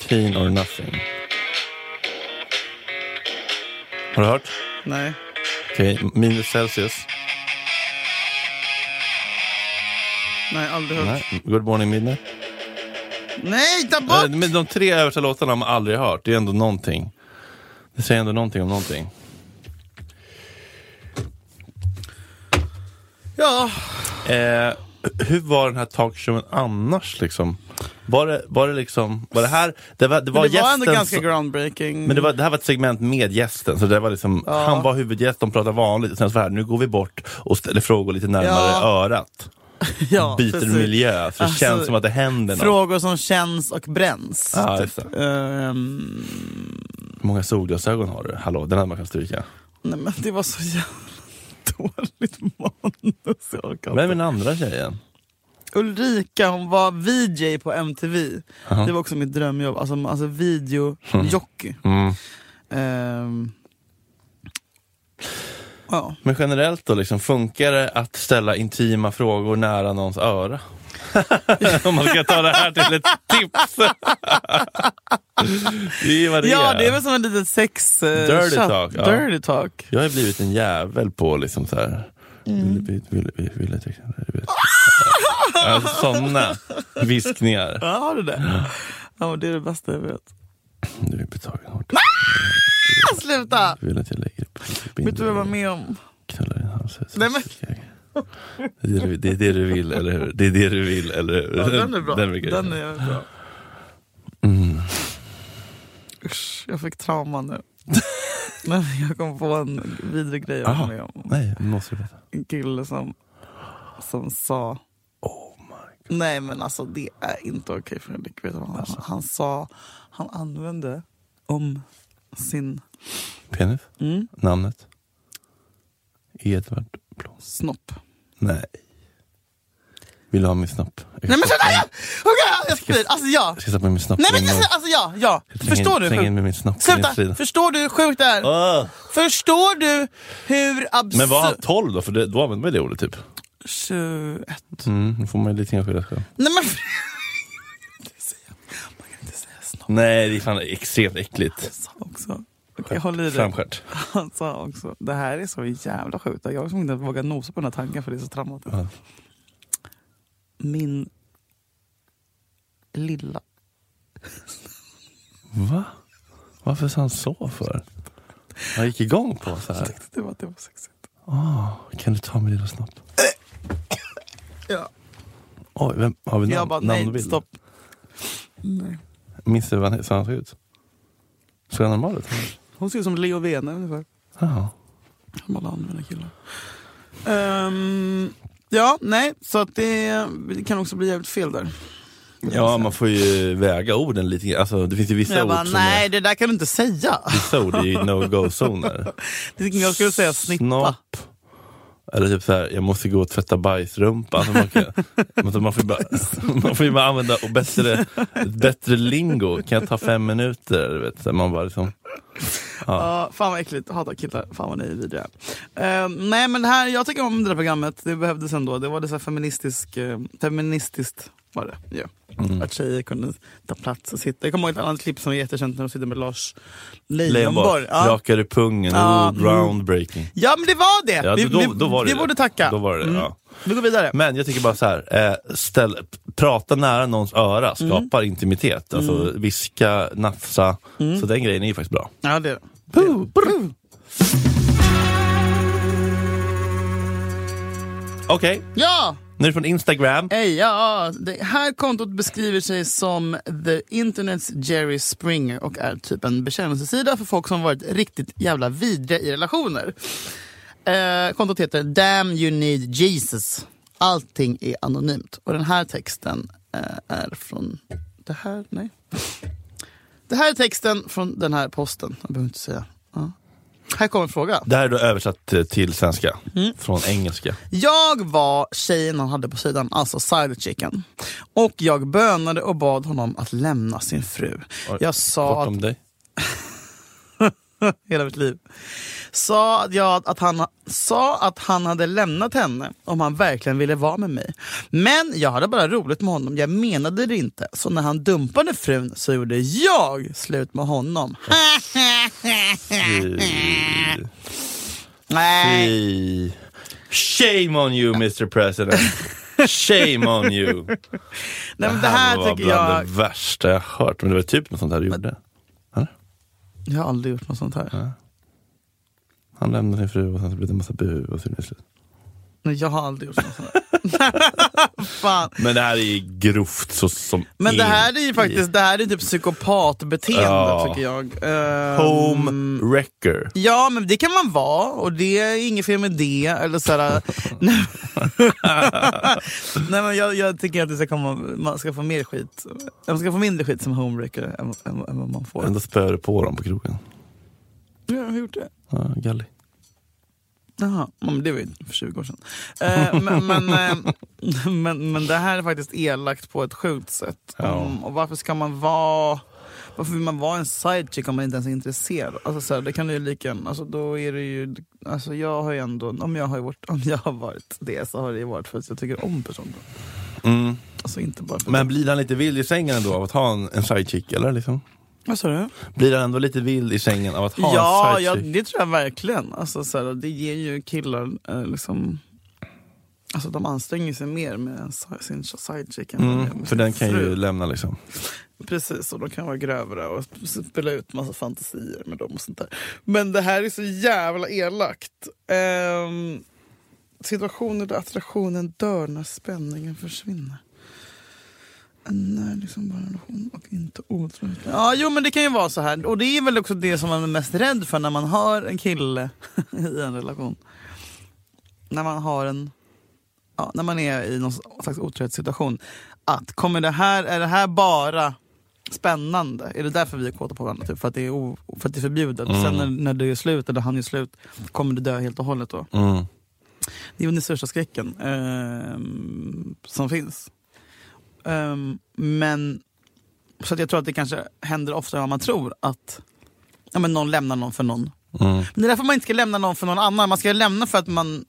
Speaker 2: Keen or nothing. Har du hört?
Speaker 3: Nej.
Speaker 2: Okej, minus Celsius.
Speaker 3: Nej, aldrig hört. Nej,
Speaker 2: Nej. Good morning midnight.
Speaker 3: ta
Speaker 2: Eh,
Speaker 3: bort!
Speaker 2: Men de tre översta låtarna har man aldrig hört. Det är ändå någonting. Det säger ändå någonting om någonting.
Speaker 3: Ja,
Speaker 2: Eh, hur var den här talkshowen annars? Liksom? Var, det, var det liksom... Var det här... Det var, det var,
Speaker 3: men det var ändå
Speaker 2: gästen
Speaker 3: ganska
Speaker 2: som-
Speaker 3: groundbreaking.
Speaker 2: Men det, var, det här var ett segment med gästen, så det var liksom,
Speaker 3: Ja.
Speaker 2: han var huvudgäst, de pratade vanligt. och Sen så här, nu går vi bort och ställer frågor lite närmare
Speaker 3: Ja.
Speaker 2: örat.
Speaker 3: ja,
Speaker 2: Byter
Speaker 3: precis.
Speaker 2: miljö, så det
Speaker 3: Alltså,
Speaker 2: känns som att det händer något.
Speaker 3: Frågor som känns och bränns.
Speaker 2: Ja, just det.
Speaker 3: Ehm,
Speaker 2: Hur många solglasögon har du? Hallå, den hade man kan stryka.
Speaker 3: nej men det var så jävla dåligt manus. Jag orkar inte.
Speaker 2: Vem är den andra tjejen?
Speaker 3: Ulrika hon var VJ på MTV. Det var också mitt drömjobb. Alltså, alltså videojockey.
Speaker 2: Mm.
Speaker 3: Ehm, ja.
Speaker 2: Men generellt då, liksom, funkar det att ställa intima frågor nära någons öra? <laughs> Om man ska ta det här till ett tips. <laughs> det är vad det
Speaker 3: ja,
Speaker 2: är.
Speaker 3: det är väl som en liten sex... eh,
Speaker 2: Dirty
Speaker 3: chatt.
Speaker 2: talk, ja.
Speaker 3: Dirty talk.
Speaker 2: Jag har blivit en jävel på liksom så här.
Speaker 3: Mm.
Speaker 2: Vill, vill, vill, vill, vill, vill, vill. Alltså, sådana viskningar.
Speaker 3: Ja, har du det? Ja, men det är det bästa jag vet.
Speaker 2: Du är betagen hårt.
Speaker 3: Ah, Sluta!
Speaker 2: Du vill att jag lägger upp typ upp in
Speaker 3: Vet du vad jag var
Speaker 2: dig,
Speaker 3: med om?
Speaker 2: Knullar din hals. så-
Speaker 3: Nej, men-
Speaker 2: Det är det, du- det är det du vill, eller hur? Det är det du vill, eller hur?
Speaker 3: Ja, den är bra. Den,
Speaker 2: brukar- Mm.
Speaker 3: är jävligt bra. Usch, jag fick trauma
Speaker 2: <laughs>
Speaker 3: nu. Nej, men jag kom på en vidrig grej jag var
Speaker 2: Aha.
Speaker 3: med om.
Speaker 2: Nej, nu måste du veta.
Speaker 3: En kille som, som sa... Oh my God. Nej men alltså det är inte okej för Henrik. Vet du vad han,
Speaker 2: Alltså.
Speaker 3: han sa? Han använde om sin
Speaker 2: Penis?
Speaker 3: mm,
Speaker 2: Namnet? Edvard Blom.
Speaker 3: snopp.
Speaker 2: Nej. Vill du ha min snopp? Jag ska-
Speaker 3: Nej men sluta! ja! Okej, jag spyr! Alltså ja!
Speaker 2: Jag ska stoppa in min snopp.
Speaker 3: Nej men
Speaker 2: i din mun.
Speaker 3: alltså ja, ja!
Speaker 2: Träng in-
Speaker 3: Förstår du?
Speaker 2: Träng in
Speaker 3: hur-
Speaker 2: med min snopp i din
Speaker 3: Sluta!
Speaker 2: sida.
Speaker 3: Förstår du hur sjukt det är?
Speaker 2: Åh!
Speaker 3: Förstår du hur
Speaker 2: Men var han
Speaker 3: absurt...
Speaker 2: 12 då? För det, då använde man ju det ordet typ.
Speaker 3: 21.
Speaker 2: Mm, då får man ju lite grann skylla sig själv.
Speaker 3: Nej men... Det säger- Man kan inte säga snopp
Speaker 2: Nej, det är fan extremt äckligt.
Speaker 3: sa <laughs> också. Okej, håll i dig.
Speaker 2: Framskärt.
Speaker 3: <laughs> Han sa också, det här är så jävla sjukt. Jag som inte vågar nosa på den här tanken för det är så traumatiskt.
Speaker 2: Ja.
Speaker 3: Min lilla... <laughs>
Speaker 2: Va? Varför sa han så för? Han gick igång på så här.
Speaker 3: Det var, det var sexigt.
Speaker 2: Kan du ta min lilla snopp?
Speaker 3: <coughs> Ja.
Speaker 2: Oj, vem, har vi
Speaker 3: Jag
Speaker 2: namn,
Speaker 3: bara,
Speaker 2: namn och
Speaker 3: nej
Speaker 2: bild?
Speaker 3: stopp. Nej.
Speaker 2: Minns du vad han- så han såg ut? Såg han normal ut?
Speaker 3: Hon ser ut som Leo Vene ungefär.
Speaker 2: Jaha.
Speaker 3: Som alla andra mina killar. Ehm, ja, nej, så att det, det kan också bli jävligt fel där.
Speaker 2: Ja, man får ju väga orden lite grann. Alltså, det finns ju vissa
Speaker 3: Jag
Speaker 2: ord
Speaker 3: bara,
Speaker 2: som
Speaker 3: nej
Speaker 2: Är,
Speaker 3: det där kan du inte säga.
Speaker 2: vissa ord är ju no-go-zoner.
Speaker 3: Det- Jag skulle säga snippa.
Speaker 2: Snopp. Eller typ såhär, jag måste gå och tvätta bajsrumpa. Alltså man, kan, <laughs> alltså man, får ju bara, <laughs> man får ju bara använda och bättre, ett bättre lingo. Kan jag ta fem minuter? Du vet, så man bara liksom,
Speaker 3: Ja, fan vad äckligt. Hatar killar. Fan vad ni är vidriga. Eh, nej men det här, jag tycker om det där programmet. Det behövdes ändå. Det var det så här feministisk, eh, feministiskt var det ja.
Speaker 2: Mm.
Speaker 3: Att tjejer kunde ta plats och sitta. Jag kommer ihåg ett annat klipp som är jättekänt när de sitter med Lars Leijonborg.
Speaker 2: Leijonborg,
Speaker 3: Ja.
Speaker 2: rakar i pungen,
Speaker 3: Ja.
Speaker 2: oh, groundbreaking.
Speaker 3: ja men det var det!
Speaker 2: Ja,
Speaker 3: vi
Speaker 2: då- då var det
Speaker 3: vi
Speaker 2: det.
Speaker 3: borde tacka. Mm.
Speaker 2: Då var det det, ja.
Speaker 3: Vi går vidare.
Speaker 2: Men jag tycker bara så här, eh, ställ, prata nära någons öra
Speaker 3: Mm.
Speaker 2: skapar intimitet. Alltså viska, nafsa.
Speaker 3: Mm.
Speaker 2: Så den grejen är ju faktiskt bra.
Speaker 3: ja, det är det.
Speaker 2: Okej,
Speaker 3: Ja!
Speaker 2: nu från Instagram.
Speaker 3: Ey, ja, det här kontot beskriver sig som the internets Jerry Springer och är typ en bekännelsesida för folk som varit riktigt jävla vidriga i relationer. Eh, kontot heter Damn you need Jesus. Allting är anonymt. Och den här texten eh, är från... Det här? Nej. Det här är texten från den här posten. Jag behöver inte säga. Ja. Här kommer en fråga.
Speaker 2: Det här är då översatt eh, till svenska,
Speaker 3: Mm.
Speaker 2: från engelska.
Speaker 3: Jag var tjejen han hade på sidan, alltså side chicken. Och jag bönade och bad honom att lämna sin fru.
Speaker 2: Oj,
Speaker 3: Jag sa att
Speaker 2: Bortom dig.
Speaker 3: hela mitt liv. sa att, jag, att han, sa att han hade lämnat henne om han verkligen ville vara med mig. Men jag hade bara roligt med honom, jag menade det inte. Så när han dumpade frun så gjorde jag slut med honom.
Speaker 2: Fy.
Speaker 3: Nej.
Speaker 2: Fy. Shame on you Mr President. Shame on
Speaker 3: <laughs>
Speaker 2: you.
Speaker 3: Nej, men det här
Speaker 2: var
Speaker 3: tycker
Speaker 2: bland
Speaker 3: jag...
Speaker 2: det värsta jag hört. Men det var typ något sånt här du gjorde.
Speaker 3: Jag har aldrig gjort något sånt här.
Speaker 2: Han lämnade sin fru och sen så blev det en massa bu och så blev det slut.
Speaker 3: Nej, jag har aldrig gjort något sånt här. <laughs> Fan.
Speaker 2: Men det här är ju grovt så som
Speaker 3: Men det här
Speaker 2: in
Speaker 3: är ju
Speaker 2: i
Speaker 3: faktiskt det här är typ psykopatbeteende
Speaker 2: Ja.
Speaker 3: tycker jag. Eh,
Speaker 2: Home wrecker.
Speaker 3: Ja men det kan man vara och det är inget fel med det. Eller såhär, <laughs> nej, <laughs> nej men jag, jag tycker att det ska komma, man ska få mer skit. Man ska få mindre skit som homewrecker än, än, än vad man får.
Speaker 2: Ändå spöar du på dem på krogen.
Speaker 3: Ja, Jag har gjort det.
Speaker 2: Ja, gallig.
Speaker 3: Jaha, ja, men det var ju för 20 år sedan. Eh, men, men, eh, men, men det här är faktiskt elakt på ett sjukt sätt.
Speaker 2: Ja.
Speaker 3: Mm, och varför ska man vara varför vill man vara en sidechick om man inte ens är intresserad? Alltså så här, det kan du ju lika gärna- alltså, då är det ju, alltså jag har ju ändå, om jag har, varit, om jag har varit det så har det ju varit för att jag tycker om personen.
Speaker 2: Mm.
Speaker 3: Alltså inte bara för
Speaker 2: Men blir han lite vild i sängen ändå av att ha en, en sidechick eller liksom?
Speaker 3: Vad sa du?
Speaker 2: Blir han ändå lite vild i sängen av att ha
Speaker 3: Ja,
Speaker 2: en
Speaker 3: ja,
Speaker 2: sidechick?
Speaker 3: det tror jag verkligen. Alltså, så här, det ger ju killar eh, liksom... Alltså de anstränger sig mer med en si- sin sidechick än vad de gör
Speaker 2: Mm,
Speaker 3: med
Speaker 2: för
Speaker 3: sin
Speaker 2: den kan ju
Speaker 3: fru.
Speaker 2: lämna liksom.
Speaker 3: Precis, och de kan vara grövre och spela ut massa fantasier med dem och sånt där. Men det här är så jävla elakt. Ehm, situationer där attraktionen dör när spänningen försvinner. När liksom bara relation och inte otrohet. Ja, jo men det kan ju vara så här. Och det är väl också det som man är mest rädd för när man har en kille <laughs> i en relation. När man har en... Ja, när man är i någon slags otrohetssituation. Att kommer det här, är det här bara spännande? Är det därför vi är kåta på varandra? Typ, för, att det är o, för att det är förbjudet? Sen när, när det är slut, eller han är slut, kommer det dö helt och hållet då?
Speaker 2: Mm.
Speaker 3: Det är den största skräcken ehm, som finns. Ehm, men så att jag tror att det kanske händer oftare än vad man tror att ja, men någon lämnar någon för någon.
Speaker 2: Mm.
Speaker 3: Men det är därför man inte ska lämna någon för någon annan. Man ska lämna för att man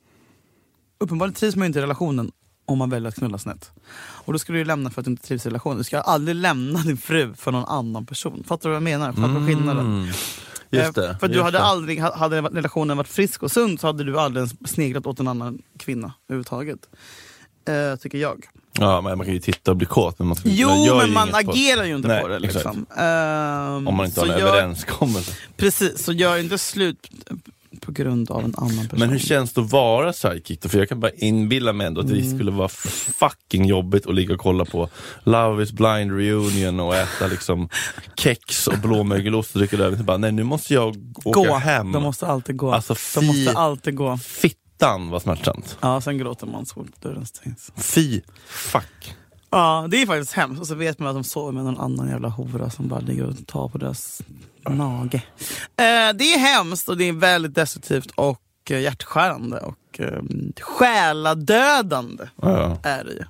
Speaker 3: uppenbarligen trivs man ju inte i relationen om man väljer att knulla snett. Och då ska du ju lämna för att du inte trivs i relationen. Du ska aldrig lämna din fru för någon annan person. Fattar du vad jag menar? Fattar du skillnaden?
Speaker 2: Mm. Just det.
Speaker 3: Eh, För att du
Speaker 2: just
Speaker 3: hade
Speaker 2: det.
Speaker 3: aldrig, ha- hade relationen varit frisk och sund så hade du aldrig ens sneglat åt en annan kvinna överhuvudtaget. Eh, tycker jag.
Speaker 2: Ja, men man kan ju titta och bli kåt. Mm. Men man ska-
Speaker 3: Jo,
Speaker 2: man gör ju
Speaker 3: men man
Speaker 2: inget på-
Speaker 3: agerar ju inte
Speaker 2: Nej,
Speaker 3: på det.
Speaker 2: exakt.
Speaker 3: Liksom. Ehm,
Speaker 2: Om man inte
Speaker 3: så
Speaker 2: har en
Speaker 3: gör-
Speaker 2: överenskommelse.
Speaker 3: Precis, så gör inte slut på grund av en annan person.
Speaker 2: Men hur känns det att vara sidekick då? För jag kan bara inbilla mig ändå att det
Speaker 3: Mm.
Speaker 2: skulle vara fucking jobbigt att ligga och kolla på Love is blind reunion och äta
Speaker 3: <laughs>
Speaker 2: liksom kex och blåmögelost och dricka öl. Bara, nej nu måste jag åka
Speaker 3: gå
Speaker 2: hem.
Speaker 3: De måste alltid gå.
Speaker 2: Alltså,
Speaker 3: De
Speaker 2: fy-
Speaker 3: måste alltid gå.
Speaker 2: Fittan vad smärtsamt.
Speaker 3: Ja, sen gråter man så fort dörren stängs.
Speaker 2: Fy fuck.
Speaker 3: Ja, det är faktiskt hemskt. Och så vet man att de sover med någon annan jävla hora som bara ligger och tar på deras nage. Eh, det är hemskt och det är väldigt destruktivt och eh, hjärtskärande och eh, själadödande
Speaker 2: Ja, ja.
Speaker 3: är det ju.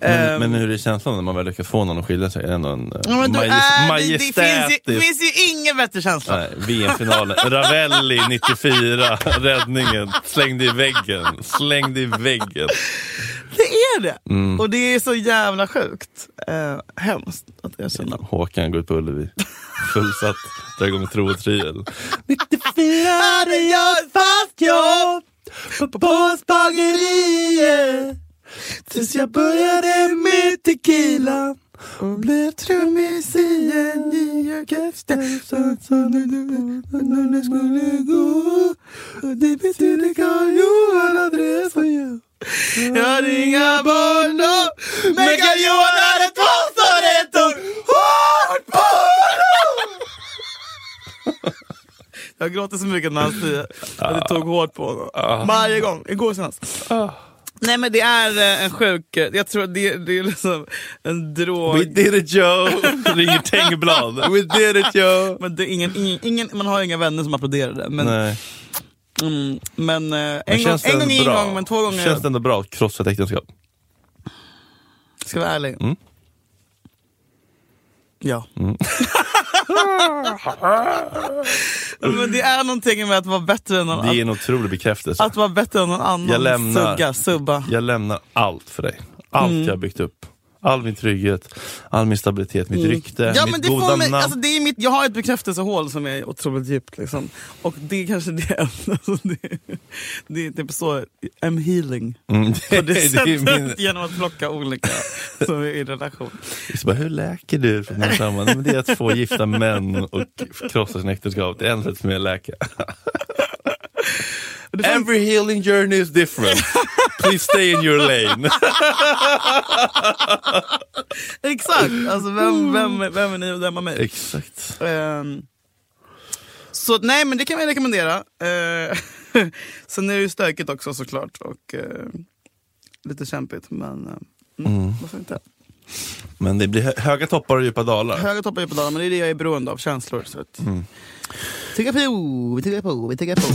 Speaker 2: Men,
Speaker 3: Ehm,
Speaker 2: men hur är känslan när man väl lyckas få någon att skilja sig? Är det ändå en eh,
Speaker 3: ja, men du,
Speaker 2: majest-
Speaker 3: är, det, det finns,
Speaker 2: majestätisk...
Speaker 3: ju, finns ju ingen bättre känsla.
Speaker 2: Nej, VM-finalen.
Speaker 3: <laughs>
Speaker 2: Ravelli 94, räddningen. Slängde i väggen. Slängde i väggen.
Speaker 3: Det är det!
Speaker 2: Mm.
Speaker 3: Och det är så jävla sjukt. Eh, hemskt att erkänna.
Speaker 2: Håkan går ut på Ullevi. Fullsatt. Drar igång med tro och tvivel.
Speaker 3: Hade jag ett fast jobb på bageriet Tills jag började med tequila och blev trummis i en nyökafton Så sa nu nu- nu det skulle gå och det betydde Karl-Johan Andreas och jag Jag hade inga barn då men Karl-Johan hade två sonetter hårt på honom jag gråter så mycket när han säger att det tog hårt på honom.
Speaker 2: Ah.
Speaker 3: Varje gång. Igår senast. Nej men det är eh, en sjuk... eh, Jag tror att det, det är liksom en
Speaker 2: We
Speaker 3: drog.
Speaker 2: did it Joe! Ringer Tengblad. We did it Joe!
Speaker 3: <laughs> Men det är ingen, ingen, ingen, man har inga vänner som applåderar det. Men,
Speaker 2: Nej.
Speaker 3: mm, men eh,
Speaker 2: Men
Speaker 3: en, gång,
Speaker 2: känns det
Speaker 3: en gång är en
Speaker 2: bra?
Speaker 3: gång, men två gånger...
Speaker 2: Känns det ändå bra att krossa ett äktenskap?
Speaker 3: Ska jag vara ärlig?
Speaker 2: Mm.
Speaker 3: Ja. Ja, <laughs> Men det är någonting med att vara bättre än någon
Speaker 2: Det är
Speaker 3: annan.
Speaker 2: en otrolig bekräftelse.
Speaker 3: Att vara bättre än någon annan.
Speaker 2: Jag lämnar.
Speaker 3: Sugga, subba.
Speaker 2: Jag lämnar allt för dig. Allt
Speaker 3: Mm.
Speaker 2: jag har byggt upp. All min trygghet, all min stabilitet, mitt rykte,
Speaker 3: Mm. Ja,
Speaker 2: mitt
Speaker 3: men det
Speaker 2: goda
Speaker 3: får mig,
Speaker 2: namn.
Speaker 3: alltså, det är mitt, jag har ett bekräftelsehål som är otroligt djupt. Liksom. Och det är kanske det <laughs> alltså, det, det är typ så, I'm healing.
Speaker 2: Mm,
Speaker 3: På det,
Speaker 2: <laughs> <laughs> det är
Speaker 3: sättet,
Speaker 2: min-
Speaker 3: genom att plocka olika som är i relation.
Speaker 2: Så bara, hur läker du från
Speaker 3: <laughs>
Speaker 2: den här samman? Men Det är att få gifta män och krossa sin äktenskap. Det är en sätt som jag
Speaker 3: <laughs>
Speaker 2: läker. Every healing journey is different. Please stay in your
Speaker 3: <laughs>
Speaker 2: lane.
Speaker 3: Exakt! Alltså, vem, vem, vem är ni att döma mig?
Speaker 2: Exakt.
Speaker 3: Ehm, så nej, men det kan vi rekommendera. Eh, <laughs> sen är det ju stökigt också såklart och eh, lite kämpigt. Men eh, mm, varför inte?
Speaker 2: Men det blir hö- höga toppar och djupa dalar.
Speaker 3: Höga toppar, djupa dalar, men det är det jag är beroende av, känslor. Så att... Tugga på, vi tuggar på, vi tuggar på.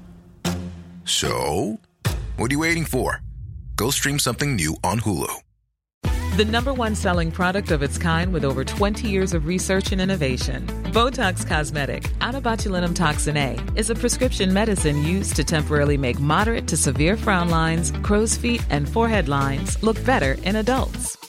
Speaker 4: So, what are you waiting for? Go stream something new on Hulu.
Speaker 8: The number one selling product of its kind with over 20 years of research and innovation. Botox Cosmetic, out of botulinum toxin A, is a prescription medicine used to temporarily make moderate to severe frown lines, crow's feet, and forehead lines look better in adults.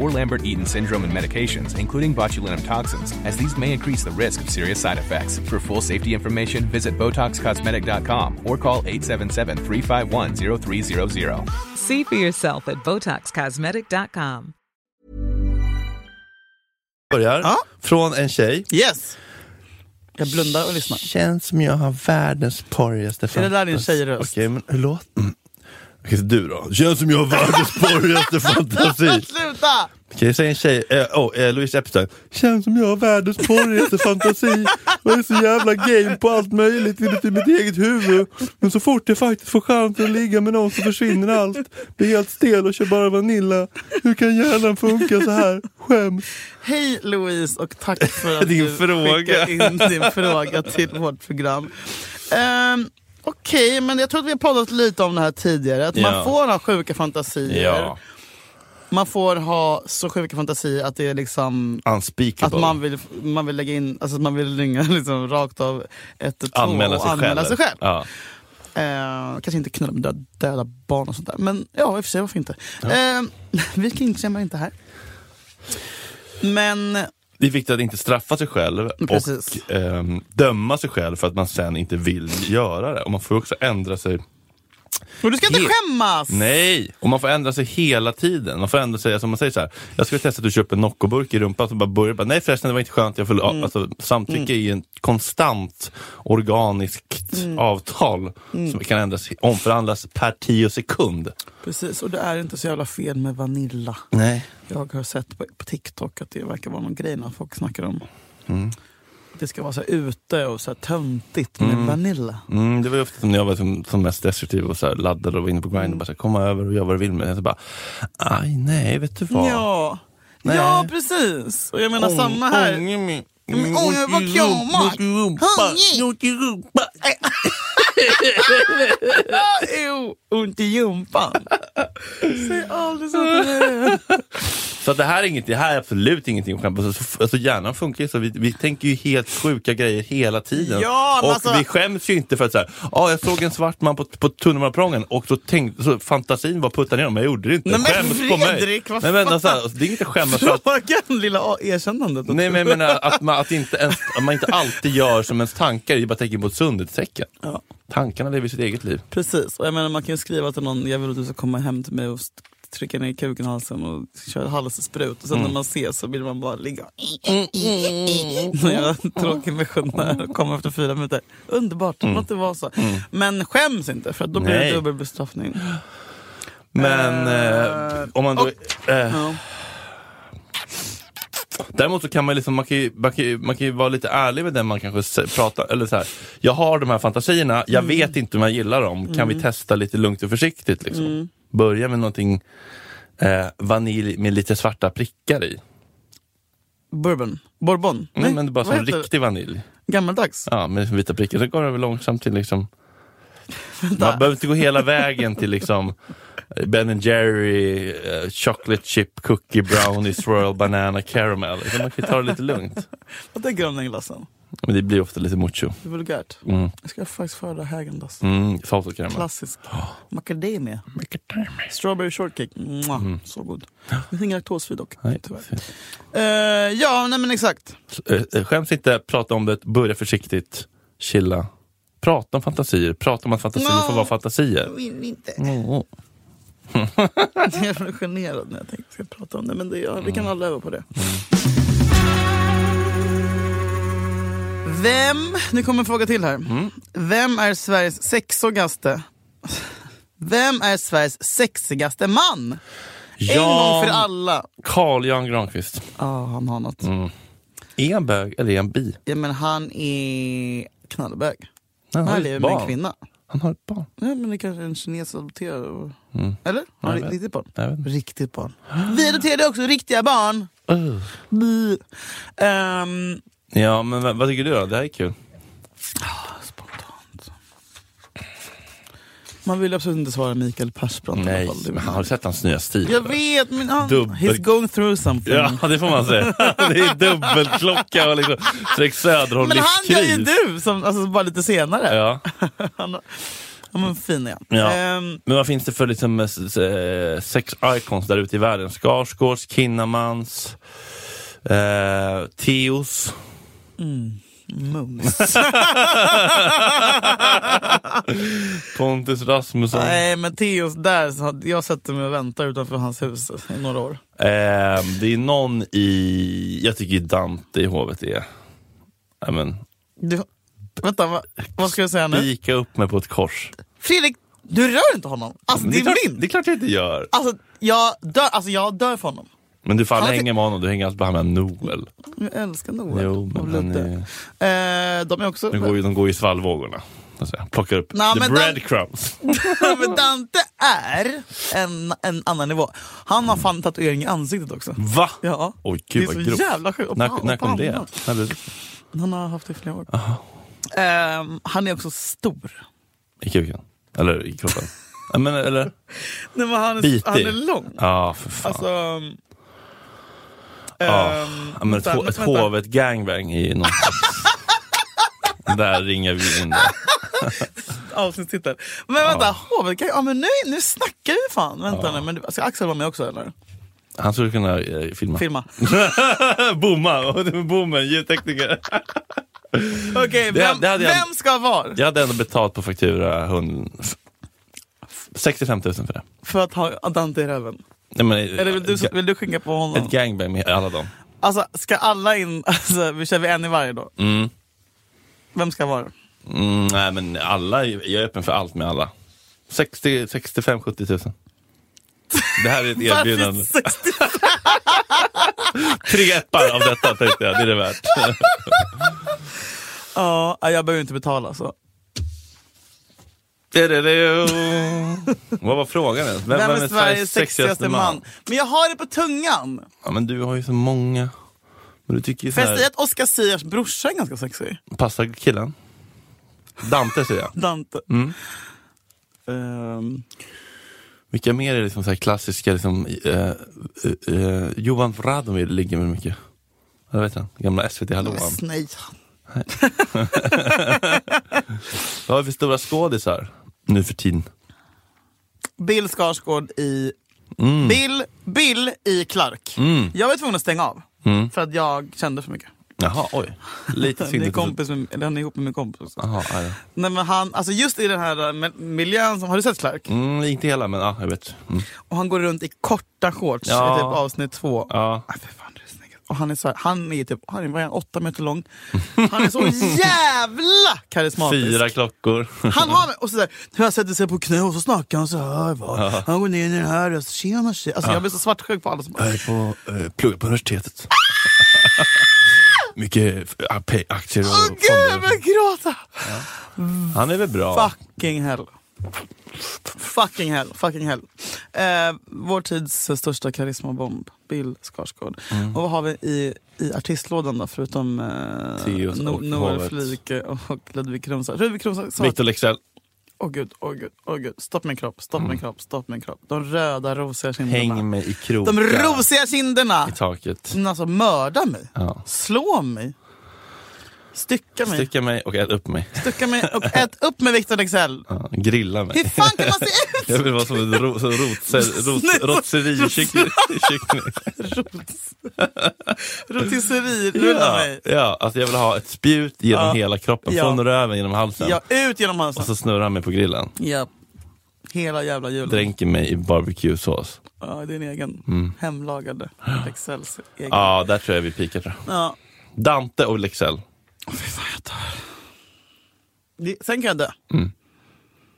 Speaker 9: or Lambert Eaton syndrome and medications, including botulinum toxins, as these may increase the risk of serious side effects. For full safety information, visit BotoxCosmetic.com or call 877 351 0300.
Speaker 8: See for yourself at BotoxCosmetic.com.
Speaker 2: börjar
Speaker 3: Ja.
Speaker 2: från en tjej.
Speaker 3: Yes! Jag blundar och lyssnar.
Speaker 2: Känns som jag har världens porrigaste
Speaker 3: Är det
Speaker 2: fantasi.
Speaker 3: där din tjejröst?
Speaker 2: Okej, men hur låter... Mm. Okej, så du då? Känns som jag har
Speaker 3: <laughs>
Speaker 2: världens porrigaste fantasi.
Speaker 3: Sluta!
Speaker 2: Okej, säg en tjej. Eh, oh, eh, Louise Epstein. Känns som jag har världens porrigaste fantasi. Jag är så jävla game på allt möjligt inuti mitt eget huvud. Men så fort jag faktiskt får chansen att ligga med någon så försvinner allt. Blir helt stel och kör bara vanilla. Hur kan hjärnan funka så här? Skäms.
Speaker 3: Hej Louise och tack för
Speaker 2: <laughs>
Speaker 3: att
Speaker 2: Din
Speaker 3: du
Speaker 2: fråga.
Speaker 3: skickade
Speaker 2: <laughs>
Speaker 3: in din fråga till vårt program. Ehm, Okej, men jag tror att vi har pratat lite om det här tidigare. Att
Speaker 2: Ja.
Speaker 3: man får ha sjuka fantasier. Man får ha så sjuka fantasier att det är liksom att
Speaker 2: Unspeakable.
Speaker 3: man vill, man vill lägga in, alltså att man vill ringa <laughs> liksom rakt av ett och två
Speaker 2: anmäla
Speaker 3: och
Speaker 2: sig
Speaker 3: anmäla
Speaker 2: själv.
Speaker 3: sig själv.
Speaker 2: Ja.
Speaker 3: Eh, kanske inte knulla med döda, döda barn och sånt där. Men ja, i och för sig varför inte. Eh, <laughs> vi kinkshamar inte här. Men
Speaker 2: Det är viktigt att inte straffa sig själv
Speaker 3: Precis.
Speaker 2: och ehm, döma sig själv för att man sen inte vill göra det. Och man får också ändra sig.
Speaker 3: och du ska inte
Speaker 2: Helt-
Speaker 3: skämmas!
Speaker 2: Nej! Och man får ändra sig hela tiden. Man får ändra sig, alltså man säger så här, jag skulle testa att du köper en Noccoburk i rumpan, så bara börjar bara, nej förresten det var inte skönt, jag förlåt.
Speaker 3: Mm.
Speaker 2: Alltså, samtycke är ju en konstant organiskt
Speaker 3: Mm.
Speaker 2: avtal som kan ändras, omförhandlas per tio sekund.
Speaker 3: Precis, och det är inte så jävla fel med Vanilla.
Speaker 2: Nej.
Speaker 3: Jag har sett på, på TikTok att det verkar vara någon grej när folk snackar om
Speaker 2: Mm.
Speaker 3: det ska vara så här ute och så här töntigt med Vanilla.
Speaker 2: Mm, det var ju ofta som när jag var som, som mest destruktiv och så här laddad och var inne på
Speaker 3: Mm.
Speaker 2: grind och bara så här, komma över och göra vad du vill med det. Så bara, aj nej, vet du vad?
Speaker 3: Ja.
Speaker 2: Nej.
Speaker 3: ja, precis. Och jag menar
Speaker 2: Ång-
Speaker 3: samma här. <laughs>
Speaker 2: ånger mig.
Speaker 3: Ja, men ånger var
Speaker 2: Ont i
Speaker 3: kramar.
Speaker 2: rumpan, ont i rumpan, ont
Speaker 3: Ånger.
Speaker 2: i rumpan. <laughs>
Speaker 3: Jo, ont i gympan. Säg aldrig så till mig.
Speaker 2: Så att det här är, inget, det här är absolut ingenting att skämmas alltså, alltså hjärnan funkar ju så. Vi, vi tänker ju helt sjuka grejer hela tiden.
Speaker 3: Ja, men
Speaker 2: och
Speaker 3: alltså-
Speaker 2: vi skäms ju inte för att säga, ja jag såg en svart man på, på tunnelbaneprången och så tänkte, så fantasin var puttad ner honom, men jag gjorde det inte.
Speaker 3: Nej, men
Speaker 2: skäms på mig.
Speaker 3: Fredrik, vad
Speaker 2: Nej, men
Speaker 3: fan?
Speaker 2: alltså, alltså, det är inget att skämmas
Speaker 3: <laughs>
Speaker 2: för. Att,
Speaker 3: Frågan, lilla a- erkännandet. också.
Speaker 2: nej men jag menar att man, att inte ens, att man inte alltid gör som ens tankar, det är bara tecken på ett sundhetstecken.
Speaker 3: Ja.
Speaker 2: Tankarna lever sitt eget liv.
Speaker 3: Precis, och jag menar man kan ju skriva till någon, jag vill att du ska komma hem till mig och st- trycka ner kuken i halsen och köra halssprut. Och sen
Speaker 2: Mm.
Speaker 3: när man ses så vill man bara ligga <laughs> Någon jävla tråkig missionär och komma efter fyra minuter. Underbart, låt det vara så. Men skäms inte för att då blir det
Speaker 2: Mm. Nej.
Speaker 3: dubbel bestraffning.
Speaker 2: Men
Speaker 3: Eh,
Speaker 2: eh, om man då... eh,
Speaker 3: Ja.
Speaker 2: Däremot så kan man, liksom, man, kan ju, man, kan ju, man kan ju vara lite ärlig med den man kanske s- pratar, eller så här. Jag har de här fantasierna,
Speaker 3: Mm.
Speaker 2: jag vet inte om jag gillar dem, kan vi testa lite lugnt och försiktigt? Liksom?
Speaker 3: Mm.
Speaker 2: Börja med någonting eh, vanilj med lite svarta prickar i.
Speaker 3: Bourbon? Bourbon?
Speaker 2: Mm, men det är bara
Speaker 3: vad
Speaker 2: som
Speaker 3: heter det?
Speaker 2: riktig vanilj.
Speaker 3: Gammaldags?
Speaker 2: Ja, med vita prickar. Så går det väl långsamt till liksom... Man behöver inte gå hela vägen till liksom eh, Ben Jerry, eh, chocolate chip, cookie, brownie, swirl, banana, caramel. Utan Man kan ju ta det lite lugnt.
Speaker 3: Vad tänker du om den glassen?
Speaker 2: Men det blir ofta lite mucho.
Speaker 3: Det är vulgärt.
Speaker 2: Mm.
Speaker 3: Jag ska faktiskt föredra Häagen-Dazs.
Speaker 2: Mm, salt och karamell.
Speaker 3: Klassisk. Macadamia. Strawberry shortcake. Mwah, Så god. Inget laktosfri dock,
Speaker 2: Mm. Nej,
Speaker 3: tyvärr.
Speaker 2: fint.
Speaker 3: Eh, ja, nej men exakt.
Speaker 2: Eh, eh, Skäms inte, prata om det, börja försiktigt, chilla. Prata om fantasier, prata om att fantasier
Speaker 3: No.
Speaker 2: får vara fantasier.
Speaker 3: Jag vill inte.
Speaker 2: Mm.
Speaker 3: <laughs> Jag blev generad när jag tänkte ska jag prata om det. Men det, ja, vi kan
Speaker 2: Mm.
Speaker 3: alla öva på det. Vem, nu kommer en fråga till här.
Speaker 2: Mm.
Speaker 3: Vem är Sveriges sexigaste? Vem är Sveriges sexigaste man? En gång för
Speaker 2: Jan,
Speaker 3: alla.
Speaker 2: Carl Jan Granqvist.
Speaker 3: Ja, han har något.
Speaker 2: Mm. Är han bög eller är han bi?
Speaker 3: Ja, men han är knallbög.
Speaker 2: Han
Speaker 3: Han
Speaker 2: har
Speaker 3: lever
Speaker 2: ett
Speaker 3: med en
Speaker 2: barn.
Speaker 3: kvinna.
Speaker 2: Han har ett barn.
Speaker 3: Nej, men det kanske är en kines adopterad. och- Eller? Har
Speaker 2: Mm. jag
Speaker 3: han
Speaker 2: vet.
Speaker 3: riktigt barn?
Speaker 2: Jag vet inte.
Speaker 3: Riktigt barn. Vi adopterade också riktiga barn. ehm, Uh.
Speaker 2: Ja, men vad, vad tycker du då? Det här är kul.
Speaker 3: spontant. Man vill absolut inte svara Mikael Persbrandt. i alla
Speaker 2: Nej,
Speaker 3: fall. Det
Speaker 2: men
Speaker 3: vill
Speaker 2: har
Speaker 3: man.
Speaker 2: du sett hans nya stil?
Speaker 3: Jag vet, men han,
Speaker 2: Dubbel-
Speaker 3: he's going through something.
Speaker 2: Ja, det får man säga. <laughs> Det är dubbelklocka och liksom Fredrik Söderholm
Speaker 3: men han gör ju
Speaker 2: livskris.
Speaker 3: du, som, alltså, bara lite senare.
Speaker 2: Ja.
Speaker 3: Han, har- ja, men fin är han.
Speaker 2: Ja.
Speaker 3: Ehm,
Speaker 2: Men vad finns det för liksom, eh, s- eh, sex icons där ute i världen? Skarsgårds, Kinnamans, eh, Theos. <laughs>
Speaker 3: mums.
Speaker 2: Pontus Rasmusson.
Speaker 3: Nej men Theoz där, så hade- jag sätter mig och väntar utanför hans hus i några år.
Speaker 2: Eh, det är någon i, jag tycker Dante i hovet är, ja, men,
Speaker 3: Du, vänta, va, vad ska jag säga nu?
Speaker 2: spika upp mig på ett kors.
Speaker 3: Fredrik, du rör inte honom! Alltså
Speaker 2: Men
Speaker 3: det
Speaker 2: klart,
Speaker 3: är min!
Speaker 2: det är klart jag inte gör.
Speaker 3: Alltså jag dör, alltså, jag dör för honom.
Speaker 2: Men du får
Speaker 3: Han
Speaker 2: aldrig
Speaker 3: är-
Speaker 2: hänga med honom, du hänger alltid bara med Noel.
Speaker 3: Jag älskar Noel.
Speaker 2: Jo, men han är,
Speaker 3: är... eh, de är också...
Speaker 2: de, går ju, de går ju i svallvågorna. Alltså, plockar upp
Speaker 3: Nej,
Speaker 2: the
Speaker 3: men Dan-
Speaker 2: breadcrumbs.
Speaker 3: <laughs> men Dante är en, en annan nivå. Han har fan tatuering i ansiktet också.
Speaker 2: Va?
Speaker 3: Ja.
Speaker 2: Oj,
Speaker 3: det är
Speaker 2: gud
Speaker 3: så
Speaker 2: vad grovt.
Speaker 3: jävla sjukt. Och
Speaker 2: När,
Speaker 3: pan-
Speaker 2: när
Speaker 3: och
Speaker 2: kom det?
Speaker 3: pannan.
Speaker 2: När blev det?
Speaker 3: Han har haft det i flera år. Ehm, han är också stor.
Speaker 2: I kuken? Eller i
Speaker 3: <laughs>
Speaker 2: kroppen? Ja, men, eller?
Speaker 3: Nej, men han,
Speaker 2: Bitig.
Speaker 3: är, han är lång.
Speaker 2: Ja, för fan.
Speaker 3: Alltså... ehm,
Speaker 2: Ja. ja, men ett
Speaker 3: vänta,
Speaker 2: ho- ett
Speaker 3: vänta.
Speaker 2: hovet gangbang i
Speaker 3: <laughs>
Speaker 2: någon Där ringar vi in det.
Speaker 3: avsnittstitel. Men vänta, hovet kan, ja, men nu, nu snackar vi fan. Vänta nu, men du- ska Axel vara med också eller?
Speaker 2: Han skulle kunna eh, filma.
Speaker 3: Filma.
Speaker 2: <laughs> Bomma! <laughs> Och det var Bommen, ljudtekniker.
Speaker 3: Okej, vem,
Speaker 2: det hade jag-
Speaker 3: vem ska vara?
Speaker 2: Jag hade ändå betalt på faktura hund... f- f- 65 000 för det.
Speaker 3: För att ha Dante i röven?
Speaker 2: Nej, men, eh,
Speaker 3: Eller vill du, vill du skinka på honom?
Speaker 2: Ett gangbang med alla dem.
Speaker 3: Alltså, ska alla in? <laughs> Alltså, vi kör vi en i varje då? Vem ska vara?
Speaker 2: Mm, nej men alla, är- jag är öppen för allt med alla. 60, 65, 70 000. Det här är ett erbjudande.
Speaker 3: <laughs> Varför
Speaker 2: <laughs>
Speaker 3: 60?
Speaker 2: Tre appar av detta tänkte jag, det är det
Speaker 3: <laughs>
Speaker 2: värt.
Speaker 3: Ja, jag behöver inte betala så.
Speaker 2: Dididio. Vad var frågan ens?
Speaker 3: Vem, är Sveriges sexigaste man? Men jag har det på tungan!
Speaker 2: Ja, men du har ju så många. Men du tycker ju så
Speaker 3: Får jag säga
Speaker 2: här,
Speaker 3: att Oscar Sias brorsa är ganska sexig?
Speaker 2: passar killen? Dante säger jag.
Speaker 3: Dante.
Speaker 2: Mm.
Speaker 3: Ehm,
Speaker 2: Vilka mer är liksom så här klassiska, liksom, eh, eh, eh, Johan Radomir ligger med mycket. Jag vet han, gamla SVT-hallåan.
Speaker 3: Nej.
Speaker 2: Vad har vi för stora skådisar nu för tiden?
Speaker 3: Bill Skarsgård i...
Speaker 2: Mm.
Speaker 3: Bill, Bill i Clark. Jag var tvungen att stänga av.
Speaker 2: Mm.
Speaker 3: För att jag kände för mycket.
Speaker 2: Jaha, oj. <laughs> Lite
Speaker 3: Det
Speaker 2: synd.
Speaker 3: är
Speaker 2: att du-
Speaker 3: kompis med, eller han är ihop med min kompis också.
Speaker 2: Jaha, ja, ja.
Speaker 3: Nej, men han, alltså just i den här eh, mil- miljön, som, har du sett Clark?
Speaker 2: Mm, inte hela, men ja, jag vet. Mm.
Speaker 3: Och han går runt i korta shorts
Speaker 2: Ja.
Speaker 3: i typ avsnitt två.
Speaker 2: Ja.
Speaker 3: Ah, för fan, det är snyggt. och han är så här, han är typ, han är, vad är han, åtta
Speaker 2: <laughs>
Speaker 3: meter lång. Han är så jävla karismatisk.
Speaker 2: Fyra klockor.
Speaker 3: Han har, och så där, hur han sätter sig på knä och så snackar han så här. Va? Han går ner i den här och så tjena tjej. Alltså jag blir så svartsjuk på alla som bara,
Speaker 2: Jag är på, eh, pluggar på universitetet. Mycket eh, pe- aktier och
Speaker 3: åh gud,
Speaker 2: fonder.
Speaker 3: jag gråta!
Speaker 2: Han är väl bra?
Speaker 3: Fucking hell. Fucking hell, fucking hell. Eh, vår tids största karismabomb, Bill Skarsgård.
Speaker 2: Mm.
Speaker 3: Och vad har vi i, i artistlådan då, förutom eh,
Speaker 2: Theoz
Speaker 3: No-
Speaker 2: och
Speaker 3: Noel
Speaker 2: hovet.
Speaker 3: Flyke och Ludvig Krumsa? Ludvig Krumsa sa att,
Speaker 2: Victor Leksell.
Speaker 3: åh gud, åh gud, åh gud, stopp min kropp, stopp min kropp, stopp min kropp. De röda rosiga kinderna.
Speaker 2: Mm. Häng mig i kroken.
Speaker 3: De rosiga kinderna!
Speaker 2: I taket.
Speaker 3: Men Alltså mörda mig,
Speaker 2: Ja.
Speaker 3: slå mig, stycka mig,
Speaker 2: Stycka mig och ät upp mig.
Speaker 3: stycka mig och ät upp med Victor Leksell.
Speaker 2: Ja, grilla mig.
Speaker 3: Hur fan kan man se ut
Speaker 2: Jag vill vara som en ro- som <laughs> rotse- rot- rotserikyckling.
Speaker 3: <laughs> Rotisserie, rulla
Speaker 2: Ja,
Speaker 3: mig.
Speaker 2: ja, alltså jag vill ha ett spjut genom
Speaker 3: Ja.
Speaker 2: hela kroppen,
Speaker 3: Ja.
Speaker 2: från röven genom halsen.
Speaker 3: Ja, ut genom
Speaker 2: Och
Speaker 3: halsen.
Speaker 2: så snurrar han mig på grillen.
Speaker 3: Ja. Hela jävla julen.
Speaker 2: Dränker mig i barbecuesås.
Speaker 3: Ja, din egen hemlagade Excels egen. Ja.
Speaker 2: Mm. Ja, där tror jag vi pikar tror jag. Dante och Leksell.
Speaker 3: Det- Sen kan jag dö.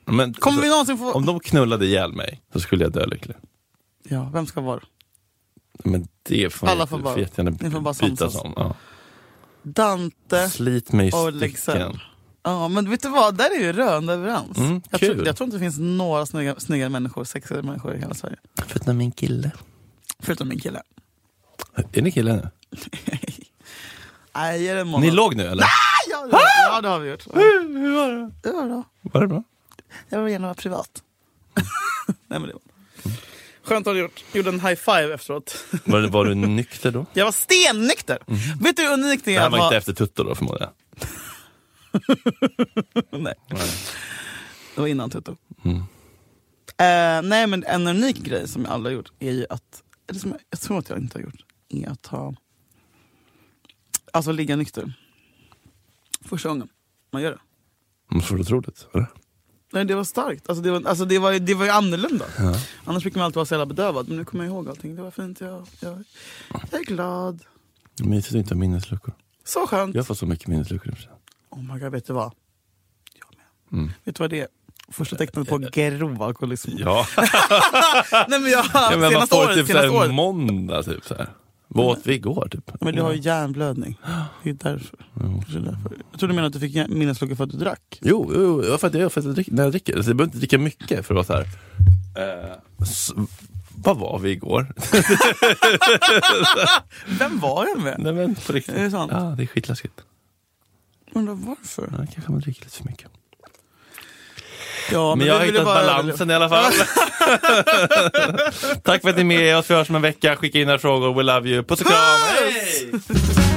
Speaker 2: Men,
Speaker 3: Kommer
Speaker 2: så-
Speaker 3: vi någonsin få...
Speaker 2: Om de knullade ihjäl mig så skulle jag dö lycklig.
Speaker 3: Ja, vem ska vara?
Speaker 2: Men det får
Speaker 3: Alla
Speaker 2: jag-
Speaker 3: får bara-
Speaker 2: jättegärna
Speaker 3: ni får bara
Speaker 2: bytas
Speaker 3: samsas.
Speaker 2: om. Ja.
Speaker 3: Dante.
Speaker 2: Slit mig i
Speaker 3: och Leksell.
Speaker 2: stycken.
Speaker 3: Ja, men vet du vad? Där är ju rörande överens.
Speaker 2: Mm,
Speaker 3: jag, tror,
Speaker 2: kul.
Speaker 3: jag tror inte det finns några snygga, snygga människor, sexigare människor i hela Sverige.
Speaker 2: Förutom min kille.
Speaker 3: Förutom min kille.
Speaker 2: Är ni killar nu?
Speaker 3: Nej, ge det en
Speaker 2: Ni
Speaker 3: månad.
Speaker 2: låg nu eller?
Speaker 3: Ja, det, ja, det har vi gjort. Ja,
Speaker 2: Hur var det?
Speaker 3: det var bra.
Speaker 2: Var det bra?
Speaker 3: Jag vill gärna vara privat. <laughs> Nej, men det var Skönt att du gjort. gjorde en high five efteråt. <laughs>
Speaker 2: Var, det, var du nykter då?
Speaker 3: Jag var stennykter! Vet du hur unikt det
Speaker 2: Mhm. Det
Speaker 3: är
Speaker 2: här
Speaker 3: att
Speaker 2: var inte
Speaker 3: vara...
Speaker 2: efter Tutto då förmodar jag.
Speaker 3: Nej. Det var innan Tutto.
Speaker 2: Mm.
Speaker 3: Eh, nej men en unik grej som jag aldrig har gjort är ju att, eller som jag, jag tror att jag inte har gjort, är att ha, alltså ligga nykter. Första gången man gör det.
Speaker 2: Måste vara otroligt. eller?
Speaker 3: Nej det var starkt, alltså det var, alltså det var, ju- det var ju annorlunda. Annars brukar man alltid vara så jävla bedövad, men nu kommer jag ihåg allting. Det var fint, jag, jag, jag är glad.
Speaker 2: Mysigt att inte ha minnesluckor.
Speaker 3: Så skönt.
Speaker 2: Jag får så mycket minnesluckor. nu för tiden.
Speaker 3: Oh my god, vet du vad? Jag med.
Speaker 2: <laughs>
Speaker 3: Vet du vad det är? Första tecknet <laughs> på grov alkoholism.
Speaker 2: Ja,
Speaker 3: Nej men jag har
Speaker 2: ja men man
Speaker 3: senaste
Speaker 2: får
Speaker 3: året,
Speaker 2: typ
Speaker 3: senaste
Speaker 2: såhär
Speaker 3: året.
Speaker 2: måndag typ såhär. Vad åt vi igår typ?
Speaker 3: Men du har ju hjärnblödning. Det är därför. Det är därför. Jag tror du menar att du fick hjär- minneslucka för att du drack.
Speaker 2: Jo, jo jo, för att jag, för att jag dricker, när jag dricker. Alltså, jag behöver inte dricka mycket för att vara såhär. Eh, s- vad var vi igår? <laughs>
Speaker 3: Vem var jag med?
Speaker 2: Nej men på riktigt.
Speaker 3: Är det sant?
Speaker 2: Ja, det är skitläskigt.
Speaker 3: Undrar varför?
Speaker 2: Ja, kanske man dricker lite för mycket.
Speaker 3: Ja,
Speaker 2: Men jag har
Speaker 3: vi ville
Speaker 2: hittat
Speaker 3: bara-
Speaker 2: balansen i alla fall.
Speaker 3: <laughs>
Speaker 2: Tack för att ni är med oss. Vi hörs om en vecka. Skicka in era frågor. We love you. Puss och kram. Hej!